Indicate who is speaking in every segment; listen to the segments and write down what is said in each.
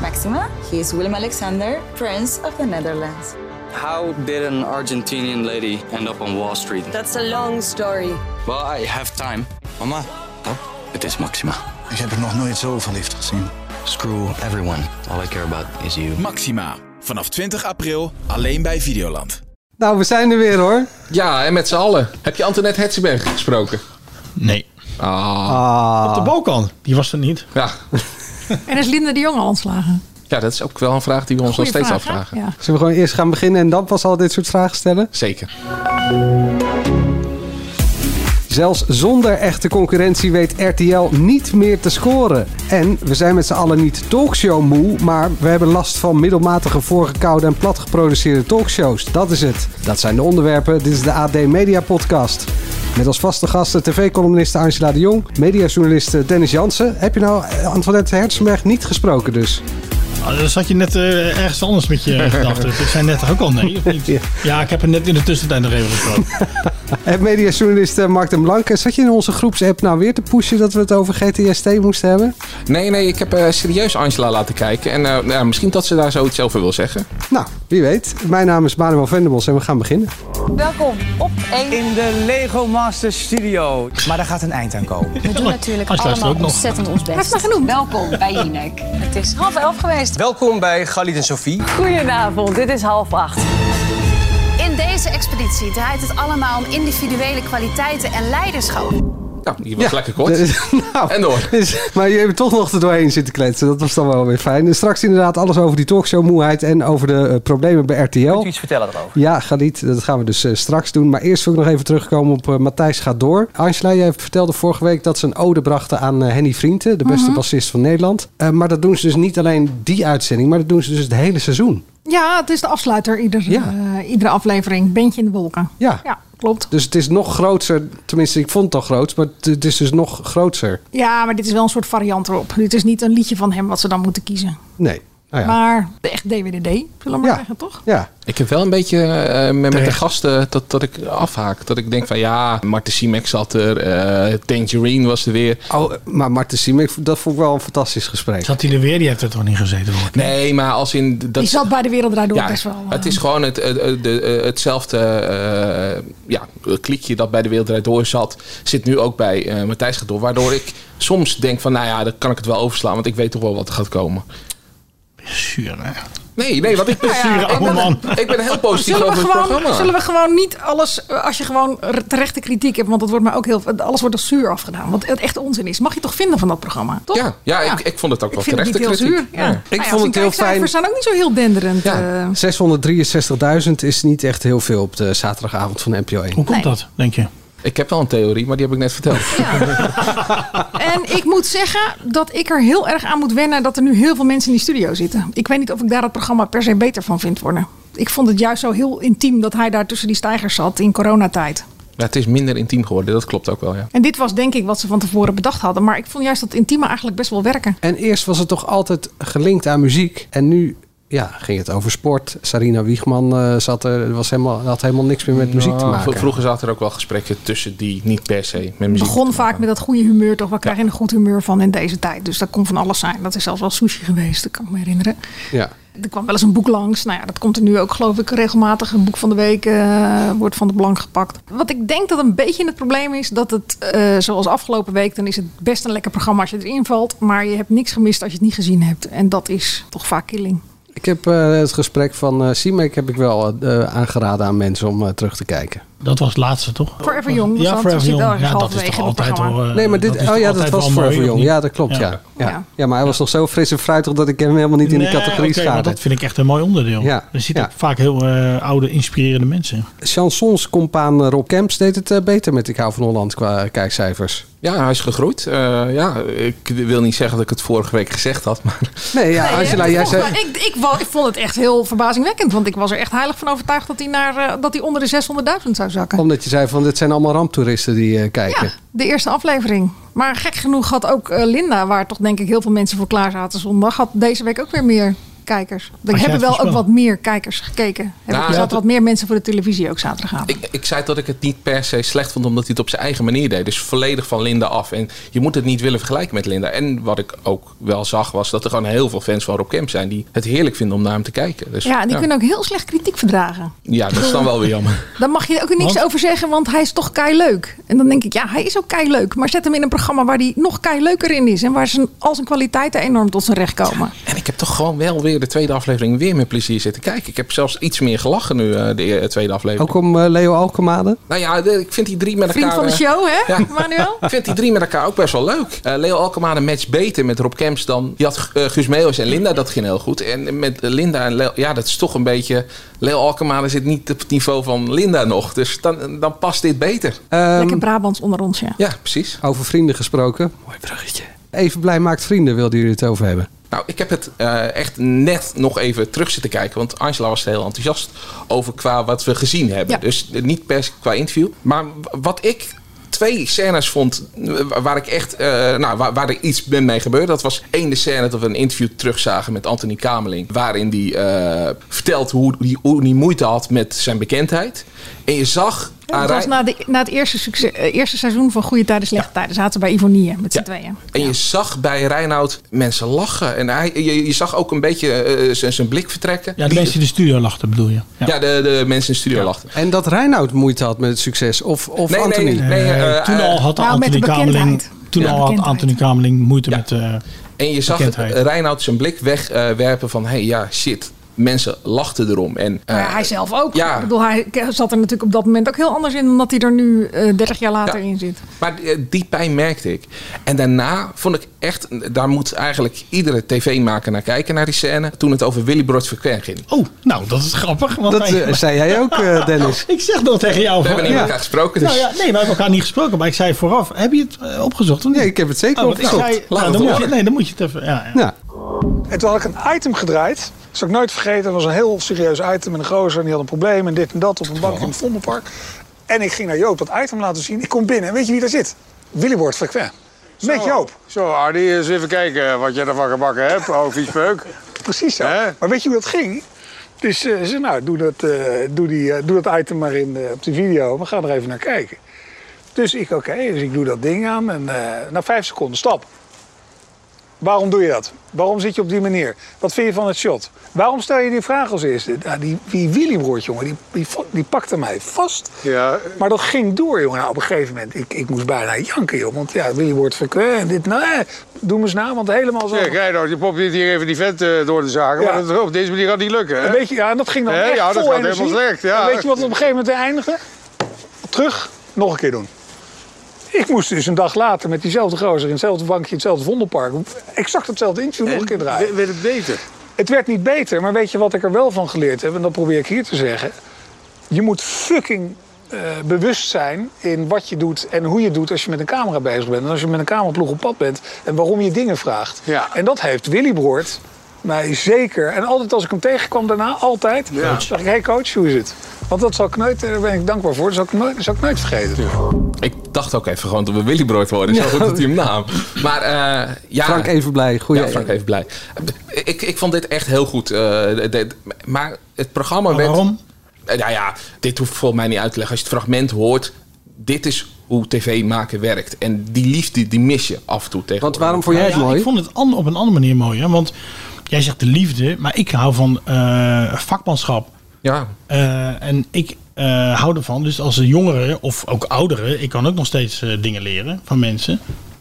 Speaker 1: Maxima. He is Willem Alexander, Prince of the Netherlands.
Speaker 2: How did an Argentinian lady end up on Wall Street?
Speaker 3: That's a long story.
Speaker 2: Well, I have time.
Speaker 4: Mama,
Speaker 2: Het is Maxima.
Speaker 5: Ik heb er nog nooit zo verliefd gezien.
Speaker 2: Screw everyone. All I care about is you.
Speaker 6: Maxima. Vanaf 20 april alleen bij Videoland.
Speaker 7: Nou, we zijn er weer hoor.
Speaker 8: Ja, en met z'n allen. Heb je Antoinette Hetzenberg gesproken?
Speaker 9: Nee. Op de Balkan. Die was er niet.
Speaker 8: Ja.
Speaker 10: En is Linda de Jong al ontslagen?
Speaker 8: ja, dat is ook wel een vraag die we ons nog
Speaker 10: Goeie
Speaker 8: steeds
Speaker 10: vraag, hè?
Speaker 8: afvragen.
Speaker 10: Ja.
Speaker 7: Zullen we gewoon eerst gaan beginnen en dan pas al dit soort vragen stellen?
Speaker 8: Zeker.
Speaker 7: Zelfs zonder echte concurrentie weet RTL niet meer te scoren. En we zijn met z'n allen niet talkshow moe, maar we hebben last van middelmatige voorgekoude en plat geproduceerde talkshows. Dat is het. Dat zijn de onderwerpen. Dit is de AD Media Podcast. Met als vaste gasten tv-columniste Angela de Jong, mediajournaliste Dennis Jansen. Heb je nou Antoinette Herzenberg niet gesproken dus?
Speaker 9: Ah, Dan zat je net eh, ergens anders met je gedachten. Ik zei net ook al nee, of niet?
Speaker 7: Ja.
Speaker 9: Ja, ik heb er net in de tussentijd nog even gesproken.
Speaker 7: En mediajournalist eh, Mark den Blanke, zat je in onze groepsapp nou weer te pushen dat we het over GTST moesten hebben?
Speaker 8: Nee, nee, ik heb eh, serieus Angela laten kijken. En eh, nou ja, misschien dat ze daar zoiets over wil zeggen.
Speaker 7: Nou, wie weet. Mijn naam is Manuel Venderbos en we gaan beginnen.
Speaker 1: Welkom op 1.
Speaker 11: in de Lego Master Studio. Maar daar gaat een eind aan komen.
Speaker 3: We doen natuurlijk
Speaker 9: Als je luistert
Speaker 3: allemaal
Speaker 9: ook nog.
Speaker 3: ontzettend ons
Speaker 10: Hij is
Speaker 3: best.
Speaker 10: maar genoemd.
Speaker 1: Welkom bij Jinek. Het is half elf geweest.
Speaker 11: Welkom bij Galit en Sophie.
Speaker 1: Goedenavond, dit is half acht.
Speaker 3: In deze expeditie draait het allemaal om individuele kwaliteiten en leiderschap.
Speaker 8: Nou, die was lekker kort.
Speaker 7: nou,
Speaker 8: En door.
Speaker 7: is- maar jullie hebben toch nog er doorheen zitten kletsen. Dat was dan wel weer fijn. En straks inderdaad alles over die talkshowmoeheid en over de eh, problemen bij RTL.
Speaker 11: Kunt u iets vertellen erover?
Speaker 7: Ja, Galit, dat gaan we dus eh, straks doen. Maar eerst wil ik nog even terugkomen op eh, Matthijs gaat door. Angela, jij vertelde vorige week dat ze een ode brachten aan eh, Henny Vrienden, de beste bassist van Nederland. Eh, maar dat doen ze dus niet alleen die uitzending, maar dat doen ze dus het hele seizoen.
Speaker 10: Ja, het is de afsluiter ieder,
Speaker 7: Ja.
Speaker 10: eh, iedere aflevering. Bentje in de wolken.
Speaker 7: Ja.
Speaker 10: Ja, klopt.
Speaker 7: Dus het is nog groter. Tenminste, ik vond het al groot, maar het- het is dus nog groter.
Speaker 10: Ja, maar dit is wel een soort variant erop. Dit is niet een liedje van hem wat ze dan moeten kiezen.
Speaker 7: Nee. Nou ja.
Speaker 10: Maar de echt DWDD, zullen we maar
Speaker 7: Ja.
Speaker 10: zeggen, toch?
Speaker 7: ja.
Speaker 8: Ik heb wel een beetje eh, met, met de
Speaker 9: Terecht.
Speaker 8: gasten dat, dat ik afhaak. Dat ik denk van ja, Marten Simek zat er. eh, Tangerine was er weer.
Speaker 7: Oh, maar Marten Siemek, dat vond ik wel een fantastisch gesprek.
Speaker 9: Zat hij er weer? Die heeft er toch niet gezeten? hoor.
Speaker 8: Nee, maar als in... Dat
Speaker 10: Die zat bij de Wereld Draait Door
Speaker 8: ja,
Speaker 10: best wel. eh,
Speaker 8: het is gewoon het, eh, eh, de, eh, hetzelfde eh, ja, klikje dat bij de Wereld Draait Door zat, zit nu ook bij eh Matthijs gaat door. Waardoor ik soms denk van, nou ja, dan kan ik het wel overslaan, want ik weet toch wel wat er gaat komen.
Speaker 9: Zuur, hè?
Speaker 8: Nee, nee, want ik
Speaker 10: Nou
Speaker 8: ben,
Speaker 9: Zure
Speaker 8: ik
Speaker 9: oude
Speaker 8: ben,
Speaker 9: man.
Speaker 8: ik ben heel positief
Speaker 10: Zullen we,
Speaker 8: over het
Speaker 10: gewoon,
Speaker 8: programma.
Speaker 10: zullen we gewoon niet alles, eh, als je gewoon r- terechte kritiek hebt, want dat wordt mij ook heel, alles wordt als zuur afgedaan, wat het echt onzin is. Mag je toch vinden van dat programma? Toch?
Speaker 8: Ja, ja, ik- ik vond het ook wel
Speaker 10: vind
Speaker 8: terechte
Speaker 10: niet heel
Speaker 8: kritiek.
Speaker 10: zuur. Ja.
Speaker 8: Ja.
Speaker 10: Nou
Speaker 7: Ik
Speaker 10: ja,
Speaker 7: vond
Speaker 10: als
Speaker 7: het
Speaker 10: die
Speaker 7: heel
Speaker 10: kijkcijfers zijn ook niet zo heel denderend.
Speaker 8: Ja.
Speaker 10: eh.
Speaker 7: 663.000 is niet echt heel veel op de zaterdagavond van NPO 1.
Speaker 9: Hoe komt dat, denk je?
Speaker 8: Ik heb wel een theorie, maar die heb ik net verteld.
Speaker 10: En ik moet zeggen dat ik er heel erg aan moet wennen dat er nu heel veel mensen in die studio zitten. Ik weet niet of ik daar het programma per se beter van vind worden. Ik vond het juist zo heel intiem dat hij daar tussen die stijgers zat in coronatijd.
Speaker 8: Ja, het is minder intiem geworden, dat klopt ook wel, ja.
Speaker 10: En dit was denk ik wat ze van tevoren bedacht hadden. Maar ik vond juist dat intieme eigenlijk best wel werken.
Speaker 7: En eerst was het toch altijd gelinkt aan muziek. En nu ja, ging het over sport. Sarina Wiegman eh, zat er, was helemaal, had helemaal niks meer met muziek te
Speaker 8: Nou,
Speaker 7: maken.
Speaker 8: v- Vroeger zaten er ook wel gesprekken tussen die niet per se met
Speaker 10: Het
Speaker 8: muziek.
Speaker 10: begon vaak met dat goede humeur toch. We krijgen een goed humeur van in deze tijd. Dus dat kon van alles zijn. Dat is zelfs wel sushi geweest, dat kan ik me herinneren.
Speaker 7: Ja.
Speaker 10: Er kwam wel eens een boek langs. Nou ja, dat komt er nu ook geloof ik regelmatig. Een boek van de week eh, wordt van de plank gepakt. Wat ik denk dat een beetje het probleem is, dat het eh, zoals afgelopen week, dan is het best een lekker programma als je erin valt. Maar je hebt niks gemist als je het niet gezien hebt. En dat is toch vaak killing.
Speaker 7: Ik heb eh, het gesprek van eh Simek heb ik wel eh, aangeraden aan mensen om eh, terug te kijken.
Speaker 9: Dat was het laatste, toch?
Speaker 10: Forever Young was
Speaker 9: Ja,
Speaker 10: dat.
Speaker 9: Forever
Speaker 10: We zitten
Speaker 9: Young.
Speaker 10: ergens
Speaker 9: Ja, dat is
Speaker 10: halverwege in
Speaker 9: toch
Speaker 10: het
Speaker 9: altijd
Speaker 10: programma.
Speaker 9: wel... eh,
Speaker 7: Nee, maar dit,
Speaker 9: is toch
Speaker 7: oh ja, dat
Speaker 9: altijd
Speaker 7: was
Speaker 9: wel mooi,
Speaker 7: voor Jong.
Speaker 9: of
Speaker 7: Ja,
Speaker 9: niet?
Speaker 7: dat klopt, ja.
Speaker 9: Ja.
Speaker 7: Ja.
Speaker 10: Ja.
Speaker 7: Ja. maar hij was nog zo fris en fruitig dat ik hem helemaal niet in die
Speaker 9: Nee,
Speaker 7: categorie
Speaker 9: oké, maar
Speaker 7: schaarde.
Speaker 9: dat vind ik echt een mooi onderdeel.
Speaker 7: Ja,
Speaker 9: Er zitten
Speaker 7: ja.
Speaker 9: ook vaak heel eh, oude, inspirerende mensen.
Speaker 7: chansonscompaan Rob Kemps deed het eh, beter met Ik hou van Holland qua kijkcijfers.
Speaker 8: Ja, hij is gegroeid. Eh, ja, ik wil niet zeggen dat ik het vorige week gezegd had, maar
Speaker 7: Nee, ja,
Speaker 10: Nee,
Speaker 7: Angela,
Speaker 10: hè?
Speaker 7: jij
Speaker 10: Volgens
Speaker 7: zei...
Speaker 10: mij- ik, ik, wa- ik vond het echt heel verbazingwekkend. Want ik was er echt heilig van overtuigd dat hij, naar, eh, dat hij onder de 600.000 zou zakken.
Speaker 7: Omdat je zei van, dit zijn allemaal ramptoeristen die eh, kijken.
Speaker 10: Ja, de eerste aflevering. Maar gek genoeg had ook eh, Linda, waar toch denk ik heel veel mensen voor klaar zaten zondag, had deze week ook weer meer kijkers. Er
Speaker 9: jij
Speaker 10: hebben
Speaker 9: het
Speaker 10: wel ook
Speaker 9: voorspelt.
Speaker 10: wat meer kijkers gekeken. Er
Speaker 8: Nou,
Speaker 10: zaten
Speaker 8: dat-
Speaker 10: wat meer mensen voor de televisie ook zaterdagavond.
Speaker 8: Ik, ik zei dat ik het niet per se slecht vond, omdat hij het op zijn eigen manier deed. Dus volledig van Linda af. En je moet het niet willen vergelijken met Linda. En wat ik ook wel zag, was dat er gewoon heel veel fans van Rob Kemp zijn die het heerlijk vinden om naar hem te kijken. Dus,
Speaker 10: ja, en die kunnen ook heel slecht kritiek verdragen.
Speaker 8: ja, dat is dan wel weer jammer.
Speaker 10: Daar mag je ook niks
Speaker 9: Want?
Speaker 10: over zeggen, want hij is toch kei leuk. En dan denk ik, ja, hij is ook kei leuk. Maar zet hem in een programma waar hij nog kei leuker in is. En waar zijn, al zijn kwaliteiten enorm tot zijn recht komen.
Speaker 8: En ik heb toch gewoon wel weer de tweede aflevering weer met plezier zitten kijken. Ik heb zelfs iets meer gelachen nu, eh, de eh, tweede aflevering.
Speaker 7: Ook om eh, Leo Alkemade?
Speaker 8: Nou ja, de- ik vind die drie met elkaar...
Speaker 10: Oh. Vriend van de
Speaker 8: eh,
Speaker 10: show, hè,
Speaker 8: ja.
Speaker 10: Manuel?
Speaker 8: Ik vind die drie met elkaar ook best wel leuk. Eh, Leo Alkmaar een match beter met Rob Kemps dan... Die had eh, Guus Meeuwis en Linda, dat ging heel goed. En met Linda en Leo... Ja, dat is toch een beetje... Leo Alkmaar zit niet op het niveau van Linda nog. Dus dan, dan past dit beter.
Speaker 10: Lekker Brabants onder ons, ja.
Speaker 8: Ja, precies.
Speaker 7: Ehm, Over vrienden gesproken. Mooi bruggetje. Even blij maakt vrienden, wilden jullie het over hebben.
Speaker 8: Nou, ik heb het eh, echt net nog even terug zitten kijken. Want Angela was er heel enthousiast over qua wat we gezien hebben.
Speaker 10: Ja.
Speaker 8: Dus niet per se qua interview. Maar w- wat ik twee scènes vond eh, waar ik echt eh, nou, waar, waar er iets met mij gebeurde. Dat was één de scène dat we een interview terugzagen met Anthony Kameling. Waarin die eh, vertelt hoe hij hoe die moeite had met zijn bekendheid. En je zag... aan
Speaker 10: Dat was nou-
Speaker 8: Rijn-
Speaker 10: na, de, na het eerste, succes, eh, eerste seizoen van Goede Tijden, Slechte Tijden. Zaten ze bij Ivonie met z'n
Speaker 8: Ja.
Speaker 10: tweeën.
Speaker 8: En je zag bij Reinoud mensen lachen. En hij, je, je zag ook een beetje eh, zijn- zijn blik vertrekken.
Speaker 9: Ja, de
Speaker 8: Die-
Speaker 9: mensen in de studio lachten bedoel je. Ja.
Speaker 8: Ja, de, de mensen in de studio lachten.
Speaker 7: En dat Reinoud moeite had met het succes. Of, of
Speaker 8: Nee,
Speaker 7: Anthony.
Speaker 8: nee, nee.
Speaker 9: Eh,
Speaker 8: eh,
Speaker 9: toen
Speaker 8: eh,
Speaker 9: al had
Speaker 10: nou, met
Speaker 9: Anthony
Speaker 10: de
Speaker 9: Kameling...
Speaker 10: bekendheid.
Speaker 9: Toen
Speaker 10: Ja.
Speaker 9: al had
Speaker 10: Bekendheid.
Speaker 9: Anthony Kameling moeite
Speaker 8: Ja.
Speaker 9: met... eh,
Speaker 8: En je zag
Speaker 9: Bekendheid.
Speaker 8: Reinoud zijn blik wegwerpen van... hé, hey, ja, shit. Mensen lachten erom. En, eh,
Speaker 10: Maar ja, hij zelf ook.
Speaker 8: ja.
Speaker 10: Ik bedoel, hij zat er natuurlijk op dat moment ook heel anders in... dan dat hij er nu eh 30 jaar later
Speaker 8: Ja.
Speaker 10: in zit.
Speaker 8: Maar die, die pijn merkte ik. En daarna vond ik echt... daar moet eigenlijk iedere tv-maker naar kijken, naar die scène... toen het over Willy Brods verkeer ging.
Speaker 9: Oh, nou, dat is grappig. Want
Speaker 7: Dat
Speaker 9: wij-
Speaker 7: eh, zei jij ook, eh, Dennis.
Speaker 9: ik zeg dat tegen jou.
Speaker 8: We hebben niet
Speaker 9: Oh,
Speaker 8: met
Speaker 9: Ja.
Speaker 8: elkaar gesproken, dus...
Speaker 9: Nou ja, nee, we hebben elkaar niet gesproken. Maar ik zei vooraf, heb je het eh, opgezocht? of
Speaker 7: Nee,
Speaker 9: niet?
Speaker 7: ik heb het zeker
Speaker 9: Oh, want ik
Speaker 7: opgezocht.
Speaker 9: zei,
Speaker 8: Laat
Speaker 9: nou,
Speaker 8: het
Speaker 9: dan moet je,
Speaker 8: horen.
Speaker 9: nee, dan moet je het even... Ja, ja.
Speaker 7: Ja.
Speaker 11: En toen had ik een item gedraaid. Dat zal ik nooit vergeten. Dat was een heel serieus item. En een gozer en die had een probleem. En dit en dat op een bank in het Vondelpark. En ik ging naar Joop dat item laten zien. Ik kom binnen. En weet je wie daar zit? Willy wordt frequent. Met Joop.
Speaker 4: Zo, Ardy, eens even kijken wat jij ervan gebakken hebt, oude viespeuk.
Speaker 11: Precies zo.
Speaker 4: Hè?
Speaker 11: Maar weet je hoe dat ging? Dus eh, ze zei, nou, doe dat, eh, doe, die, eh, doe dat item maar in eh, op de video. We gaan er even naar kijken. Dus ik, oké, dus ik doe dat ding aan. En eh, na vijf seconden, stap. Waarom doe je dat? Waarom zit je op die manier? Wat vind je van het shot? Waarom stel je die vraag als eerste? Nou, die, die Willybroert, jongen, die, die, va- die pakte mij vast.
Speaker 4: Ja.
Speaker 11: Maar dat ging door, jongen. Nou, op een gegeven moment, ik, ik moest bijna janken, joh. Want ja, Willybroert, verkwijt en dit, nou, eh, doe me eens na, want helemaal zo.
Speaker 4: Zeg, Reinoud, je probeert hier even die vent eh, door te zagen,
Speaker 11: Ja.
Speaker 4: maar dat, op deze manier gaat het niet lukken. Hè?
Speaker 11: Een beetje, ja, en dat ging dan
Speaker 4: Hè?
Speaker 11: echt
Speaker 4: Ja, dat
Speaker 11: vol
Speaker 4: gaat
Speaker 11: energie.
Speaker 4: helemaal slecht, ja.
Speaker 11: En weet je wat op een gegeven moment eindigde? Terug, nog een keer doen. Ik moest dus een dag later met diezelfde gozer in hetzelfde bankje, in hetzelfde vondelpark, exact hetzelfde interview nog een keer draaien.
Speaker 4: Werd het beter?
Speaker 11: Het werd niet beter, maar weet je wat ik er wel van geleerd heb? En dat probeer ik hier te zeggen. Je moet fucking eh, bewust zijn in wat je doet en hoe je doet als je met een camera bezig bent. En als je met een cameraploeg op pad bent en waarom je dingen vraagt.
Speaker 4: Ja.
Speaker 11: En dat heeft Willy Broert mij zeker. En altijd als ik hem tegenkwam daarna, altijd,
Speaker 4: Ja.
Speaker 11: zeg ik, hey coach, hoe is het? Want dat zal ik nooit, eh, daar ben ik dankbaar voor, dat zal ik nooit, dat zal ik nooit vergeten.
Speaker 8: Ik dacht ook even gewoon dat we Willy Brood worden. Zo goed dat hij hem naam. Maar eh, ja...
Speaker 7: Frank even blij. Goeie
Speaker 8: Ja, Frank even blij. Ik, ik vond dit echt heel goed. eh, dit- maar het programma
Speaker 9: Maar
Speaker 8: werd...
Speaker 9: waarom?
Speaker 8: Eh, Nou ja, dit hoeft volgens mij niet uit te leggen. Als je het fragment hoort, dit is hoe tv maken werkt. En die liefde, die mis je af en toe tegen.
Speaker 7: Want waarom vond jij
Speaker 9: Nou
Speaker 7: het
Speaker 9: ja,
Speaker 7: mooi?
Speaker 9: Ik vond het an- op een andere manier mooi. Hè? Want jij zegt de liefde, maar ik hou van eh, vakmanschap.
Speaker 8: Ja,
Speaker 9: Eh, en ik eh, hou ervan, dus als een jongere of ook ouderen, ik kan ook nog steeds eh, dingen leren van mensen.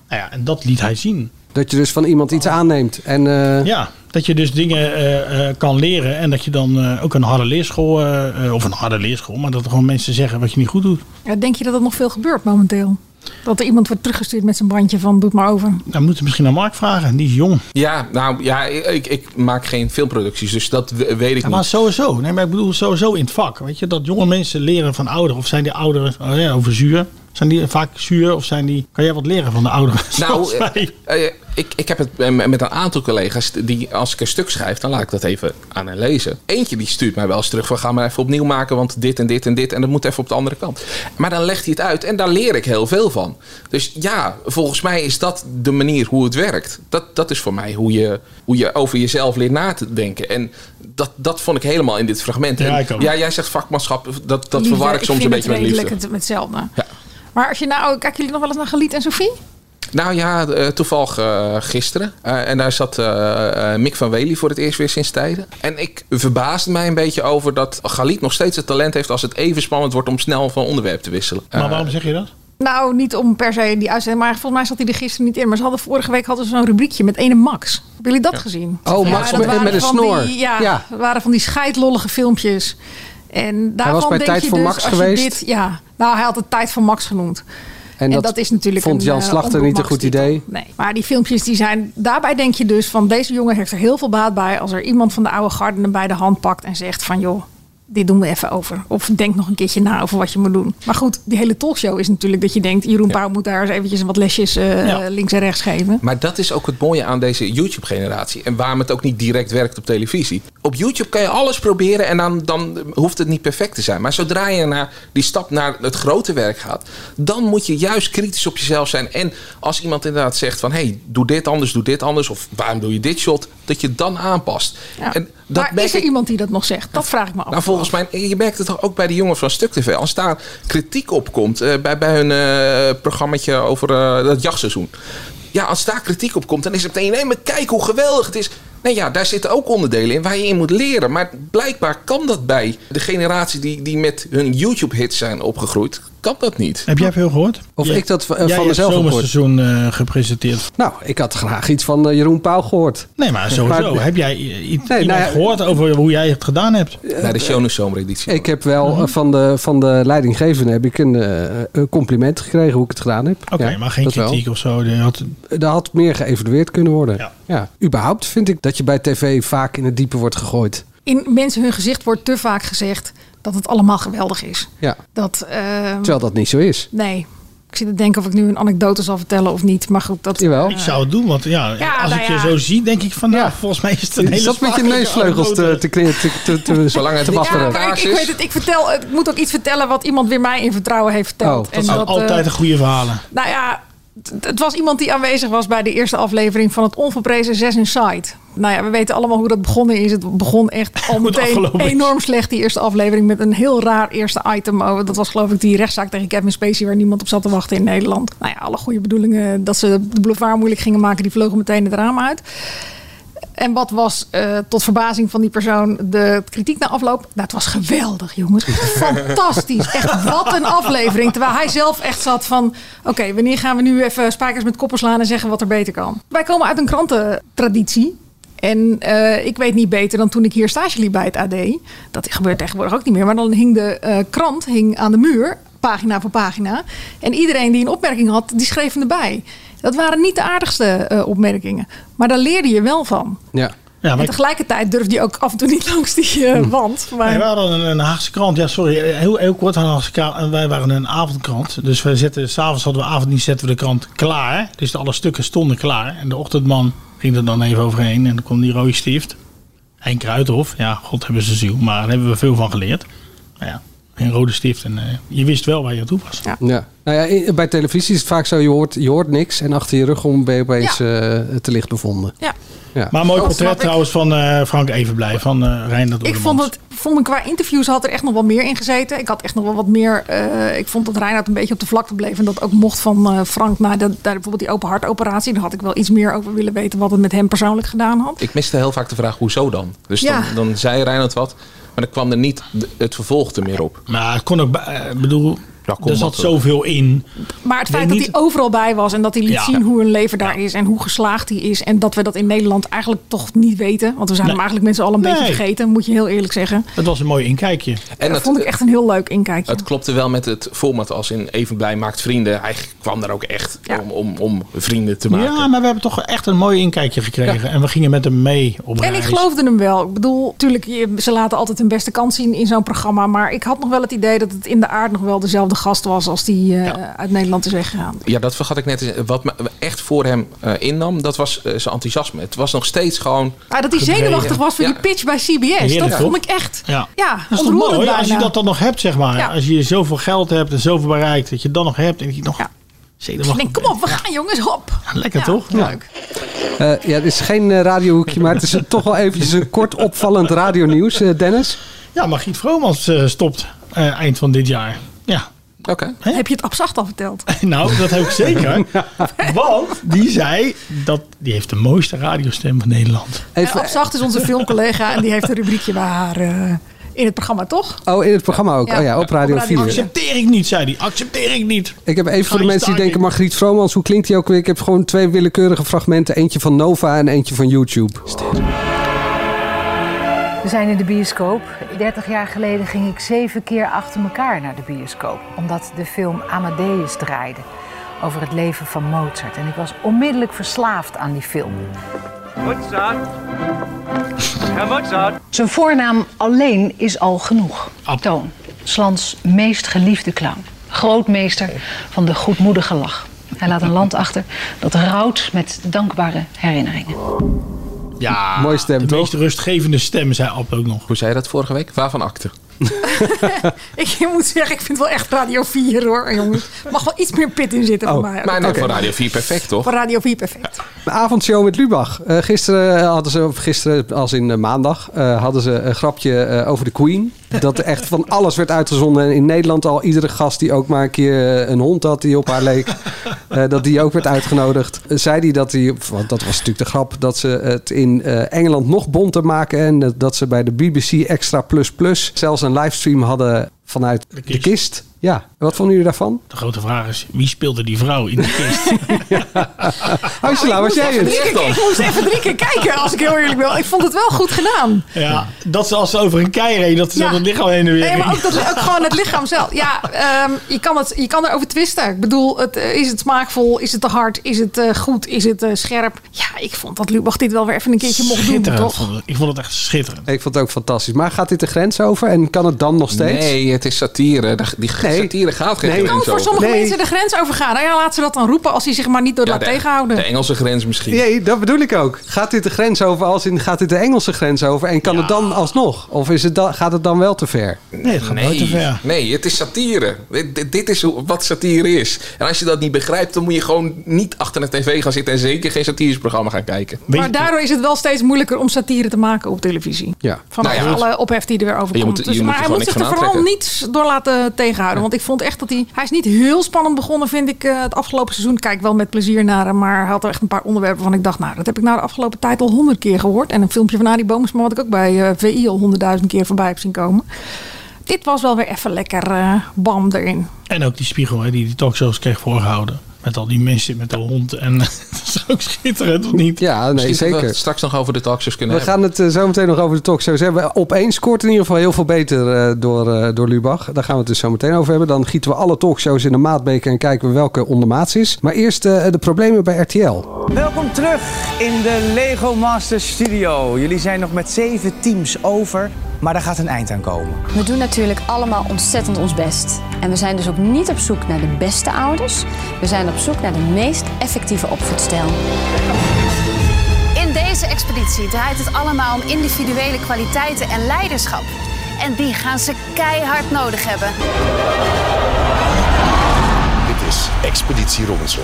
Speaker 9: Nou ja, en dat liet hij zien.
Speaker 7: Dat je dus van iemand iets aanneemt. En eh,
Speaker 9: Ja, dat je dus dingen eh, eh, kan leren en dat je dan eh, ook een harde leerschool, eh, eh, of een harde leerschool, maar dat er gewoon mensen zeggen wat je niet goed doet.
Speaker 10: Ja, denk je dat dat nog veel gebeurt momenteel? Dat er iemand wordt teruggestuurd met zijn bandje van doe het maar over.
Speaker 9: Dan moeten we misschien aan Mark vragen, die is jong.
Speaker 8: ja nou ja, ik, ik maak geen filmproducties, dus dat we- weet ik
Speaker 9: Ja, maar
Speaker 8: niet.
Speaker 9: sowieso. Nee, maar ik bedoel sowieso in het vak. Weet je, dat jonge mensen leren van ouderen. Of zijn die ouderen oh ja, over zuur? Zijn die vaak zuur of zijn die... Kan jij wat leren van de ouderen? zoals
Speaker 8: Nou, eh,
Speaker 9: wij?
Speaker 8: eh, ik, ik heb het eh, met een aantal collega's die als ik een stuk schrijf, dan laat ik dat even aan hen lezen. Eentje die stuurt mij wel eens terug van ga maar even opnieuw maken, want dit en dit en dit en dat moet even op de andere kant. Maar dan legt hij het uit en daar leer ik heel veel van. Dus ja, volgens mij is dat de manier hoe het werkt. Dat, dat is voor mij hoe je, hoe je over jezelf leert na te denken. En dat, dat vond ik helemaal in dit fragment.
Speaker 9: Ja,
Speaker 8: en,
Speaker 9: ik ook.
Speaker 8: ja jij zegt vakmanschap, dat, dat
Speaker 10: Liefde,
Speaker 8: verwar ik soms een
Speaker 10: vind
Speaker 8: beetje
Speaker 10: het
Speaker 8: met liefde.
Speaker 10: redelijk het- met hetzelfde.
Speaker 8: Ja.
Speaker 10: Maar als je nou, kijken jullie nog wel eens naar Galiet en Sofie?
Speaker 8: Nou ja, eh, toevallig eh, gisteren. Eh, en daar zat eh, eh, Mick van Wely voor het eerst weer sinds tijden. En ik verbaasde mij een beetje over dat Galit nog steeds het talent heeft als het even spannend wordt om snel van onderwerp te wisselen.
Speaker 9: maar
Speaker 8: Eh,
Speaker 9: waarom zeg je dat?
Speaker 10: Nou, niet om per se die uitzending, maar volgens mij zat hij er gisteren niet in. Maar ze hadden vorige week hadden ze zo'n rubriekje met ene Max. Hebben jullie dat gezien?
Speaker 7: Oh, Max
Speaker 10: dat
Speaker 7: met-
Speaker 10: waren
Speaker 7: met een
Speaker 10: van
Speaker 7: snor.
Speaker 10: Die, ja,
Speaker 7: Ja.
Speaker 10: dat waren van die scheidlollige filmpjes. En daarvan
Speaker 7: was bij
Speaker 10: denk
Speaker 7: Tijd
Speaker 10: je
Speaker 7: voor
Speaker 10: dus,
Speaker 7: Max
Speaker 10: als je
Speaker 7: geweest.
Speaker 10: Dit, ja, nou hij had het Tijd voor Max genoemd. En dat, is natuurlijk
Speaker 7: vond
Speaker 10: een,
Speaker 7: Jan
Speaker 10: eh,
Speaker 7: Slachter niet een goed
Speaker 10: omroep Max
Speaker 7: idee.
Speaker 10: titel. Nee, maar die filmpjes die zijn... Daarbij denk je dus van deze jongen heeft er heel veel baat bij... als er iemand van de oude garde hem bij de hand pakt en zegt van... joh, dit doen we even over. Of denk nog een keertje na over wat je moet doen. Maar goed, die hele talkshow is natuurlijk dat je denkt... Jeroen Pauw moet daar eens eventjes wat lesjes eh,
Speaker 9: Ja.
Speaker 10: links en rechts geven.
Speaker 8: Maar dat is ook het mooie aan deze YouTube-generatie. En waarom het ook niet direct werkt op televisie. Op YouTube kan je alles proberen en dan, dan hoeft het niet perfect te zijn. Maar zodra je naar die stap naar het grote werk gaat, dan moet je juist kritisch op jezelf zijn. En als iemand inderdaad zegt van hé, hey, doe dit anders, doe dit anders. Of waarom doe je dit shot? Dat je het dan aanpast.
Speaker 10: Ja.
Speaker 8: En dat
Speaker 10: maar
Speaker 8: merk
Speaker 10: is er
Speaker 8: ik-
Speaker 10: iemand die dat nog zegt? Dat vraag ik me af.
Speaker 8: nou, volgens mij, je merkt het toch ook bij de jongens van Stuk TV. Als daar kritiek op komt, eh, bij, bij hun eh programmaatje over eh, dat jachtseizoen. Ja, als daar kritiek op komt, dan is het meteen... Nee, maar kijk hoe geweldig het is. Nee, ja, daar zitten ook onderdelen in waar je in moet leren. Maar blijkbaar kan dat bij de generatie die, die met hun YouTube-hits zijn opgegroeid... kan dat niet.
Speaker 9: Heb jij veel gehoord?
Speaker 7: Of ik dat eh, van-
Speaker 9: jij
Speaker 7: van
Speaker 9: hebt
Speaker 7: mezelf heb gehoord.
Speaker 9: zomerseizoen eh, gepresenteerd.
Speaker 7: Nou, ik had graag iets van eh, Jeroen Pauw gehoord.
Speaker 9: Nee, maar sowieso.
Speaker 7: Maar-
Speaker 9: heb jij i- i-
Speaker 7: nou
Speaker 9: iemand
Speaker 7: ja,
Speaker 9: gehoord over hoe jij het gedaan hebt?
Speaker 8: Naar de
Speaker 10: eh,
Speaker 8: Shonen Zomereditie.
Speaker 7: Ik heb wel
Speaker 9: Mhm.
Speaker 7: eh, van, de, van de leidinggevende heb ik een eh, een compliment gekregen hoe ik het gedaan heb.
Speaker 9: Oké,
Speaker 7: Ja,
Speaker 9: maar geen
Speaker 7: dat wel.
Speaker 9: kritiek of zo. Je had-
Speaker 7: Er had meer geëvalueerd kunnen worden.
Speaker 9: Ja.
Speaker 7: Ja. Überhaupt vind ik dat je bij tv vaak in het diepe wordt gegooid.
Speaker 10: In mensen hun gezicht wordt te vaak gezegd dat het allemaal geweldig is.
Speaker 7: Ja.
Speaker 10: Dat, eh,
Speaker 7: Terwijl dat niet zo is.
Speaker 10: nee. Ik zit te denken of ik nu een anekdote zal vertellen of niet. Maar goed, dat...
Speaker 7: Jawel.
Speaker 9: Ik zou het doen, want ja,
Speaker 10: Ja,
Speaker 9: als
Speaker 10: nou
Speaker 9: ik je
Speaker 10: ja.
Speaker 9: zo zie, denk ik van nou, volgens mij is het een hele
Speaker 7: Je zat met je
Speaker 9: smakelijke
Speaker 7: neusvleugels te,
Speaker 9: anekdote.
Speaker 7: te, kni- te, te, te,
Speaker 8: Zolang het
Speaker 7: te
Speaker 8: niet-
Speaker 10: Ja,
Speaker 7: wapperen.
Speaker 10: kijk, ik weet het. Ik, vertel, ik moet ook iets vertellen wat iemand weer mij in vertrouwen heeft verteld.
Speaker 7: Oh,
Speaker 10: En
Speaker 9: Al-
Speaker 10: eh,
Speaker 9: Nou, Altijd een goede verhalen.
Speaker 10: Nou ja, het- het was iemand die aanwezig was bij de eerste aflevering van het onverprezen 6 Inside. Nou ja, we weten allemaal hoe dat begonnen is. Het begon echt al meteen
Speaker 9: afgelopen is.
Speaker 10: enorm slecht, die eerste aflevering. Met een heel raar eerste item. Oh, Dat was geloof ik die rechtszaak tegen Kevin Spacey... waar niemand op zat te wachten in Nederland. Nou ja, alle goede bedoelingen dat ze de boulevard moeilijk gingen maken... die vlogen meteen het raam uit. En wat was eh, tot verbazing van die persoon de kritiek na afloop? Nou, het was geweldig, jongens. Fantastisch. Echt wat een aflevering. Terwijl hij zelf echt zat van... Oké, wanneer gaan we nu even spijkers met koppen slaan en zeggen wat er beter kan? Wij komen uit een krantentraditie. En eh, ik weet niet beter dan toen ik hier stage liep bij het AD. Dat gebeurt tegenwoordig ook niet meer. Maar dan hing de eh, krant hing aan de muur, pagina voor pagina. En iedereen die een opmerking had, die schreef hem erbij. Dat waren niet de aardigste eh, opmerkingen. Maar daar leerde je wel van.
Speaker 7: Ja.
Speaker 9: Ja, maar
Speaker 10: En
Speaker 9: ik- Hm.
Speaker 10: tegelijkertijd durfde je ook af en toe niet langs die eh, wand. Maar
Speaker 9: Nee, wij hadden een, een Haagse krant. Ja, sorry, heel, heel kort aan Haagse krant. En wij waren een avondkrant. Dus wij zetten, s'avonds hadden we avonddienst, zetten we de krant klaar. Dus de alle stukken stonden klaar. En de ochtendman ging er dan even overheen. En dan kwam die rode stift. Henk Kruidhof. Ja, god hebben ze ziel. Maar daar hebben we veel van geleerd. Nou ja, een rode stift. En eh, je wist wel waar je aan toe was.
Speaker 7: Ja. Nou ja, i- bij televisie is het vaak zo, je hoort, je hoort niks en achter je rug om ben je opeens eh, te licht bevonden.
Speaker 10: ja,
Speaker 9: Maar een mooi
Speaker 10: Dat Oh, snap
Speaker 9: portret
Speaker 10: ik.
Speaker 9: trouwens van eh, Frank Evenblij. Van eh Reindert
Speaker 10: ik vond het vond me qua interviews had er echt nog wel meer in gezeten. Ik had echt nog wel wat meer. eh, ik vond dat Reinhard een beetje op de vlakte bleef. En dat ook mocht van eh, Frank na de, daar bijvoorbeeld die open hartoperatie. Daar had ik wel iets meer over willen weten wat het met hem persoonlijk gedaan had.
Speaker 8: Ik miste heel vaak de vraag, hoezo dan? Dus
Speaker 10: Ja.
Speaker 8: dan, dan zei Reinhard wat, maar dan kwam er niet de- het vervolg er meer op.
Speaker 9: Maar het kon ook... bij- eh, Ik bedoel,
Speaker 8: Ja, kon
Speaker 9: er zat
Speaker 8: makkelijk.
Speaker 9: zoveel in.
Speaker 10: Maar het feit
Speaker 9: denk
Speaker 10: dat
Speaker 9: niet-
Speaker 10: hij overal bij was en dat hij liet
Speaker 9: Ja.
Speaker 10: zien hoe een leven daar is en hoe geslaagd hij is. En dat we dat in Nederland eigenlijk toch niet weten. Want we zijn
Speaker 9: Nee.
Speaker 10: hem eigenlijk met z'n allen een
Speaker 9: Nee.
Speaker 10: beetje vergeten, moet je heel eerlijk zeggen.
Speaker 9: Het was een mooi inkijkje.
Speaker 8: En
Speaker 10: dat
Speaker 8: het-
Speaker 10: vond ik echt een heel leuk inkijkje.
Speaker 8: Het klopte wel met het format als in Even Blij Maakt Vrienden. Hij kwam daar ook echt
Speaker 10: Ja.
Speaker 8: om, om, om vrienden te maken.
Speaker 9: Ja, maar we hebben toch echt een mooi inkijkje gekregen. En we gingen met hem mee op reis.
Speaker 10: En ik geloofde hem wel. Ik bedoel, natuurlijk, ze laten altijd hun beste kant zien in zo'n programma. Maar ik had nog wel het idee dat het in de aard nog wel dezelfde dezelfde gast was als die eh, uit Nederland is weggegaan.
Speaker 8: Ja, dat vergat ik net. te zeggen. Wat me echt voor hem eh, innam, dat was eh, zijn enthousiasme. Het was nog steeds gewoon...
Speaker 10: Maar Ah, dat hij
Speaker 9: Gebreken.
Speaker 10: zenuwachtig was voor
Speaker 8: Ja.
Speaker 10: die pitch bij CBS.
Speaker 9: Heerlijk,
Speaker 10: dat
Speaker 9: toch?
Speaker 10: vond ik echt ja.
Speaker 9: Ja. Dat is toch
Speaker 10: ontroerend
Speaker 9: mooi als je
Speaker 10: bijna.
Speaker 9: dat dan nog hebt, zeg maar.
Speaker 10: Ja.
Speaker 9: Als je zoveel geld hebt en zoveel bereikt, dat je het dan nog hebt en dat je nog
Speaker 10: Ja. Ik
Speaker 9: zenuwachtig
Speaker 10: denk, kom op, we gaan jongens, hop.
Speaker 9: bent. Lekker
Speaker 10: Ja,
Speaker 9: toch?
Speaker 10: Leuk.
Speaker 7: Eh, ja, het is geen eh, radiohoekje, maar het is toch wel eventjes een kort opvallend radionieuws, eh, Dennis.
Speaker 9: Ja, maar Giet Vromans eh, stopt eh, eind van dit jaar. Ja.
Speaker 8: Oké.
Speaker 10: Heb je het abzacht al verteld?
Speaker 9: Nou, dat heb ik zeker. Want die zei dat die heeft de mooiste radiostem van Nederland.
Speaker 10: En
Speaker 7: Even,
Speaker 10: Eh, abzacht is
Speaker 8: eh,
Speaker 10: onze filmcollega en die heeft een rubriekje bij haar eh, in het programma, toch?
Speaker 7: oh, in het programma ook.
Speaker 10: Ja.
Speaker 7: Oh ja, op Radio
Speaker 10: Op Radio
Speaker 7: 4.
Speaker 10: Actie.
Speaker 9: Accepteer ik niet, zei hij. Accepteer ik niet.
Speaker 7: Ik heb even voor de
Speaker 9: Ga
Speaker 7: mensen
Speaker 9: je
Speaker 7: die
Speaker 9: staking.
Speaker 7: denken, Margriet Vromans, hoe klinkt die ook weer? Ik heb gewoon twee willekeurige fragmenten. Eentje van Nova en eentje van YouTube.
Speaker 12: We zijn in de bioscoop. 30 jaar geleden ging ik zeven keer achter elkaar naar de bioscoop. Omdat de film Amadeus draaide over het leven van Mozart. En ik was onmiddellijk verslaafd aan die film.
Speaker 13: Mozart. Herr Mozart.
Speaker 12: Zijn voornaam alleen is al genoeg. Toon, Slans meest geliefde clown. Grootmeester van de goedmoedige lach. Hij laat een land achter dat rouwt met dankbare herinneringen.
Speaker 9: Ja,
Speaker 7: Mooie stem,
Speaker 9: de
Speaker 7: toch?
Speaker 9: meest rustgevende stem, zei Ab ook nog.
Speaker 8: Ah, Hoe zei je dat vorige week? Waarvan acte?
Speaker 10: Ik moet zeggen, ik vind het wel echt Radio 4 hoor, jongens. Mag wel iets meer pit in zitten voor mij.
Speaker 8: Maar nou, voor Radio 4 perfect, toch?
Speaker 10: Voor Radio 4 perfect.
Speaker 7: Een avondshow met Lubach. Eh, gisteren eh, hadden ze, of gisteren als in eh, maandag, eh, hadden ze een grapje eh, over de Queen. Dat er echt van alles werd uitgezonden. En in Nederland al iedere gast die ook maar een keer eh, een hond had die op haar leek, eh, dat die ook werd uitgenodigd. Eh, Zei die dat die, want dat was natuurlijk de grap, dat ze het in eh, Engeland nog bonter maken. En dat- dat ze bij de BBC Extra Plus Plus zelfs een livestream hadden vanuit de kist. Oh,
Speaker 9: kist.
Speaker 7: Ja, wat vonden jullie daarvan?
Speaker 9: De grote vraag is, wie speelde die vrouw in de kist?
Speaker 7: Angela, was jij
Speaker 10: Ik,
Speaker 7: het?
Speaker 10: ik, ik moest even drie keer kijken, als ik heel eerlijk ben. Ik vond het wel goed gedaan.
Speaker 9: ja, dat ze als ze over een kei reed, dat ze
Speaker 10: Ja.
Speaker 9: dan het lichaam heen en weer
Speaker 10: Nee, maar
Speaker 9: ging.
Speaker 10: ook, dat, ook gewoon het lichaam zelf. Ja, ehm, je, kan het, je kan erover twisten. Ik bedoel, het, eh, is het smaakvol? Is het te hard? Is het eh, goed? Is het eh, scherp? Ja, ik vond dat Lubach dit wel weer even een keertje mocht doen,
Speaker 9: Schitterend
Speaker 10: toch?
Speaker 9: vond ik. Ik vond het echt schitterend.
Speaker 7: Ik vond het ook fantastisch. Maar gaat dit de grens over en kan het dan nog steeds?
Speaker 8: Nee, het is satire. De- Die
Speaker 7: Nee.
Speaker 8: satire gaat
Speaker 7: Nee.
Speaker 8: geen grens
Speaker 10: Kan Oh, voor
Speaker 8: over.
Speaker 10: sommige
Speaker 7: Nee.
Speaker 10: mensen de grens overgaan. Nou ja, laat ze dat dan roepen als hij zich maar niet door
Speaker 8: Ja,
Speaker 10: laat
Speaker 8: de-
Speaker 10: tegenhouden.
Speaker 8: De Engelse grens misschien.
Speaker 7: Nee, dat bedoel ik ook. Gaat dit de grens over als in gaat dit de Engelse grens over en kan het dan alsnog? Of is het dan, gaat het dan wel te ver?
Speaker 9: Nee, het gaat nooit te
Speaker 8: Nee,
Speaker 9: ver.
Speaker 8: nee, het is satire. Dit, dit- dit is hoe- wat satire is. En als je dat niet begrijpt, dan moet je gewoon niet achter een tv gaan zitten en zeker geen satirisch programma gaan kijken.
Speaker 9: Weet
Speaker 10: Maar
Speaker 9: je-
Speaker 10: daardoor is het wel steeds moeilijker om satire te maken op televisie.
Speaker 7: Ja.
Speaker 10: Van
Speaker 8: Nou ja.
Speaker 10: alle ophef die er weer over
Speaker 8: Je
Speaker 10: komt.
Speaker 8: moet- je
Speaker 10: Dus-
Speaker 8: moet er
Speaker 10: maar hij
Speaker 8: gewoon
Speaker 10: moet zich
Speaker 8: niks
Speaker 10: er
Speaker 8: van
Speaker 10: vooral niet door laten tegenhouden. Want ik vond echt dat hij... Hij is niet heel spannend begonnen, vind ik, eh, het afgelopen seizoen. Ik Kijk wel met plezier naar hem. Maar hij had er echt een paar onderwerpen van ik dacht... Nou, dat heb ik nou de afgelopen tijd al honderd keer gehoord. En een filmpje van Arie Boomsma, wat ik ook bij eh, VI al honderdduizend keer voorbij heb zien komen. Dit was wel weer even lekker eh, bam erin.
Speaker 9: En ook die spiegel hè, die die talkshows kreeg voorgehouden. Met al die mensen met de hond. En dat is ook schitterend, of niet?
Speaker 7: Ja, nee,
Speaker 8: Misschien dat we het
Speaker 7: zeker.
Speaker 8: straks nog over de talkshows kunnen
Speaker 7: We
Speaker 8: hebben.
Speaker 7: gaan het eh, zo meteen nog over de talkshows hebben. Opeens scoort in ieder geval heel veel beter eh, door, eh, door Lubach. Daar gaan we het dus zo meteen over hebben. Dan gieten we alle talkshows in de maatbeker en kijken we welke ondermaats is. Maar eerst eh, de problemen bij RTL.
Speaker 13: Welkom terug in de Lego Masters Studio. Jullie zijn nog met zeven teams over, maar daar gaat een eind aan komen.
Speaker 12: We doen natuurlijk allemaal ontzettend ons best. En we zijn dus ook niet op zoek naar de beste ouders. We zijn op zoek naar de meest effectieve opvoedstijl.
Speaker 3: In deze expeditie draait het allemaal om individuele kwaliteiten en leiderschap. En die gaan ze keihard nodig hebben.
Speaker 14: Dit is Expeditie Robinson.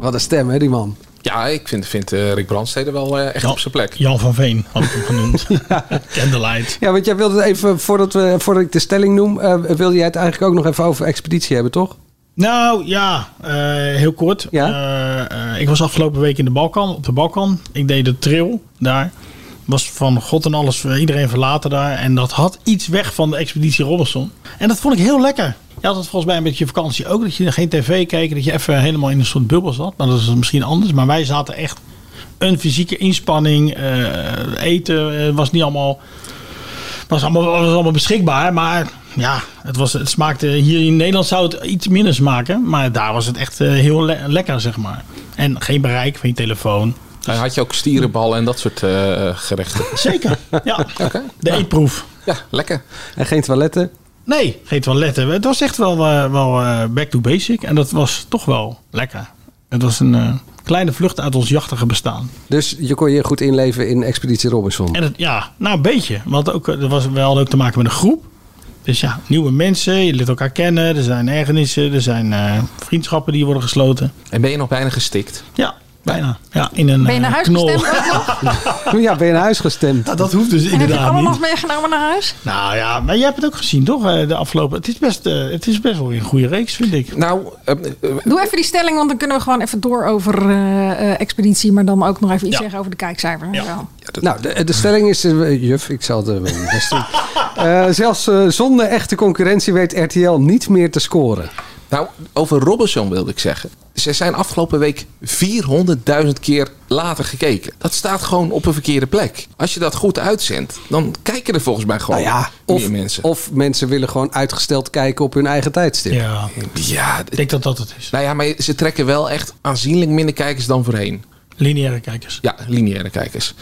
Speaker 7: Wat een stem, hè, die man.
Speaker 8: Ja, ik vind, vind eh, Rick Brandstede wel eh, echt
Speaker 9: Jan-
Speaker 8: op zijn plek.
Speaker 9: Jan van Veen had ik hem genoemd. Candlelight.
Speaker 7: Ja, want jij wilde het even, voordat, we, voordat ik de stelling noem, eh, wilde jij het eigenlijk ook nog even over expeditie hebben, toch?
Speaker 9: Nou ja, eh, heel kort.
Speaker 7: Ja?
Speaker 9: Eh, eh, ik was afgelopen week in de Balkan, op de Balkan. Ik deed de trail daar. Was van God en alles, eh, iedereen verlaten daar. En dat had iets weg van de expeditie Robinson. En dat vond ik heel lekker. Je had het volgens mij een beetje vakantie ook. Dat je geen tv keek, dat je even helemaal in een soort bubbel zat. Maar dat is misschien anders. Maar wij zaten echt een fysieke inspanning. eh, eten eh, was niet allemaal was allemaal, was allemaal beschikbaar, maar ja, het, was, het smaakte. Hier in Nederland zou het iets minder smaken, maar daar was het echt eh, heel le- lekker, zeg maar. En geen bereik van je telefoon.
Speaker 8: Hij had je ook stierenballen en dat soort eh, gerechten.
Speaker 9: Zeker, ja.
Speaker 8: Oké.
Speaker 9: De eetproef.
Speaker 8: Ja, lekker.
Speaker 7: En geen toiletten.
Speaker 9: Nee, geen toiletten. Het was echt wel, eh, wel eh, back to basic. En dat was toch wel lekker. Het was een eh, kleine vlucht uit ons jachtige bestaan.
Speaker 7: Dus je kon je goed inleven in Expeditie Robinson.
Speaker 9: En het, ja, nou een beetje. Want ook, eh, er was, we hadden ook te maken met een groep. Dus ja, nieuwe mensen, je leert elkaar kennen. Er zijn ergernissen, er zijn eh, vriendschappen die worden gesloten.
Speaker 8: En ben je nog bijna gestikt?
Speaker 9: Ja, bijna. Ja, in een
Speaker 10: Ben je
Speaker 9: eh,
Speaker 10: naar huis
Speaker 9: knol.
Speaker 10: gestemd ook nog?
Speaker 7: Ja, ben je naar huis gestemd?
Speaker 9: Ja, dat hoeft dus
Speaker 10: En heb je het
Speaker 9: inderdaad
Speaker 10: allemaal nog
Speaker 9: niet.
Speaker 10: meegenomen naar huis?
Speaker 9: Nou ja, maar jij hebt het ook gezien, toch? eh, De afgelopen. Het is best, eh, het is best wel weer een goede reeks, vind ik.
Speaker 8: Nou,
Speaker 7: eh,
Speaker 10: Doe even die stelling, want dan kunnen we gewoon even door over eh, eh, expeditie. Maar dan ook nog even iets
Speaker 7: Ja.
Speaker 10: zeggen over de kijkcijfer. Ja.
Speaker 7: Nou, de, de stelling is, eh, juf, ik zal het eh, wel best doen. Eh, zelfs eh, zonder echte concurrentie weet RTL niet meer te scoren.
Speaker 8: Nou, over Robinson wilde ik zeggen. Ze zijn afgelopen week 400.000 keer later gekeken. Dat staat gewoon op een verkeerde plek. Als je dat goed uitzendt, dan kijken er volgens mij gewoon
Speaker 7: Nou Of,
Speaker 8: meer mensen.
Speaker 7: of mensen willen gewoon uitgesteld kijken op hun eigen tijdstip.
Speaker 9: Ja.
Speaker 8: Ja, ik
Speaker 9: denk dat dat het is.
Speaker 8: Nou ja, maar ze trekken wel echt aanzienlijk minder kijkers dan voorheen.
Speaker 9: Lineaire kijkers.
Speaker 8: Ja, lineaire kijkers.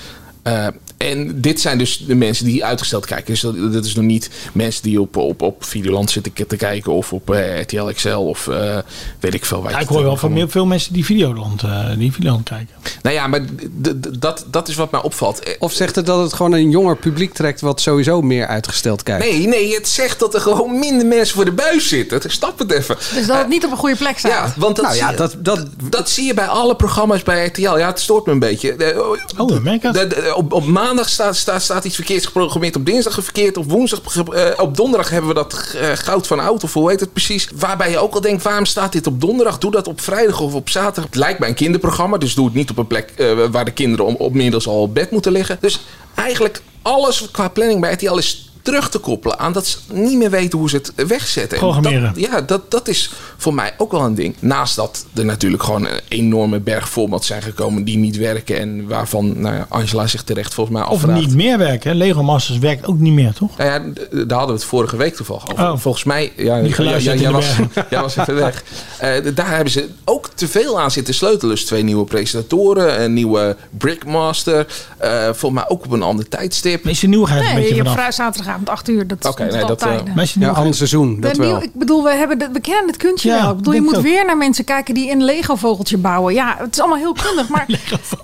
Speaker 8: Eh, en dit zijn dus de mensen die uitgesteld kijken. Dus dat, dat is nog niet mensen die op, op, op Videoland zitten te kijken of op eh, RTL XL of eh, weet ik veel. waar je
Speaker 9: Ja,
Speaker 8: het
Speaker 9: ik
Speaker 8: eh,
Speaker 9: hoor wel van
Speaker 8: allemaal-
Speaker 9: meer, veel mensen die Videoland, eh, die Videoland kijken.
Speaker 8: Nou ja, maar d- d- dat, dat is wat mij opvalt. Eh,
Speaker 7: Of zegt het dat het gewoon een jonger publiek trekt wat sowieso meer uitgesteld kijkt?
Speaker 8: Nee, nee, het zegt dat er gewoon minder mensen voor de buis zitten. Snap het even.
Speaker 10: Dus dat het niet op een goede plek staat.
Speaker 8: Ja, want dat,
Speaker 10: Nou ja,
Speaker 8: zie, je- dat, dat zie je bij alle programma's bij RTL. Ja, het stoort me een beetje. Eh,
Speaker 9: Oh, dat merk
Speaker 8: de- de- Op, op maandag staat, staat, staat iets verkeerds geprogrammeerd. Op dinsdag verkeerd. Op woensdag. ge- eh, op donderdag hebben we dat eh, goud van oud. Of hoe heet het precies? Waarbij je ook al denkt: waarom staat dit op donderdag? Doe dat op vrijdag of op zaterdag. Het lijkt mij een kinderprogramma. Dus doe het niet op een plek eh, waar de kinderen om, op middels al op bed moeten liggen. Dus eigenlijk alles qua planning bij RTL is terug te koppelen aan dat ze niet meer weten hoe ze het wegzetten. En
Speaker 9: Programmeren.
Speaker 8: dat- ja, dat, dat is voor mij ook wel een ding. Naast dat er natuurlijk gewoon een enorme berg voorbeeld zijn gekomen die niet werken en waarvan nou ja, Angela zich terecht volgens mij
Speaker 9: Of
Speaker 8: afvraagt.
Speaker 9: niet meer werken. hè. Lego Masters werkt ook niet meer, toch?
Speaker 8: Nou ja, d- daar hadden we het vorige week toevallig over.
Speaker 9: Oh.
Speaker 8: Volgens mij, ja,
Speaker 9: Niet
Speaker 8: ja, ja,
Speaker 9: geluisterd
Speaker 8: jij,
Speaker 9: in de
Speaker 8: was, jij was even weg. Eh, d- daar hebben ze ook te veel aan zitten sleutelen. Dus twee nieuwe presentatoren, een nieuwe Brickmaster. eh voor mij ook op een ander tijdstip.
Speaker 9: Is de nieuwigheid
Speaker 10: Nee, je hebt vrij zaterdagavond 8 uur. Dat
Speaker 8: Oké,
Speaker 10: stond
Speaker 8: nee,
Speaker 10: er
Speaker 8: dat,
Speaker 10: altijd.
Speaker 8: eh,
Speaker 9: Maar
Speaker 7: Ja,
Speaker 9: is die nieuwigheid-
Speaker 7: ander seizoen, dat
Speaker 10: Ben nieuw-
Speaker 7: wel.
Speaker 10: ik bedoel, we, hebben de, we kennen het kunstje
Speaker 9: Ja,
Speaker 10: wel. Ik bedoel, je
Speaker 9: denk
Speaker 10: moet
Speaker 9: ik ook.
Speaker 10: weer naar mensen kijken die een Lego-vogeltje bouwen. Ja, het is allemaal heel kundig. Maar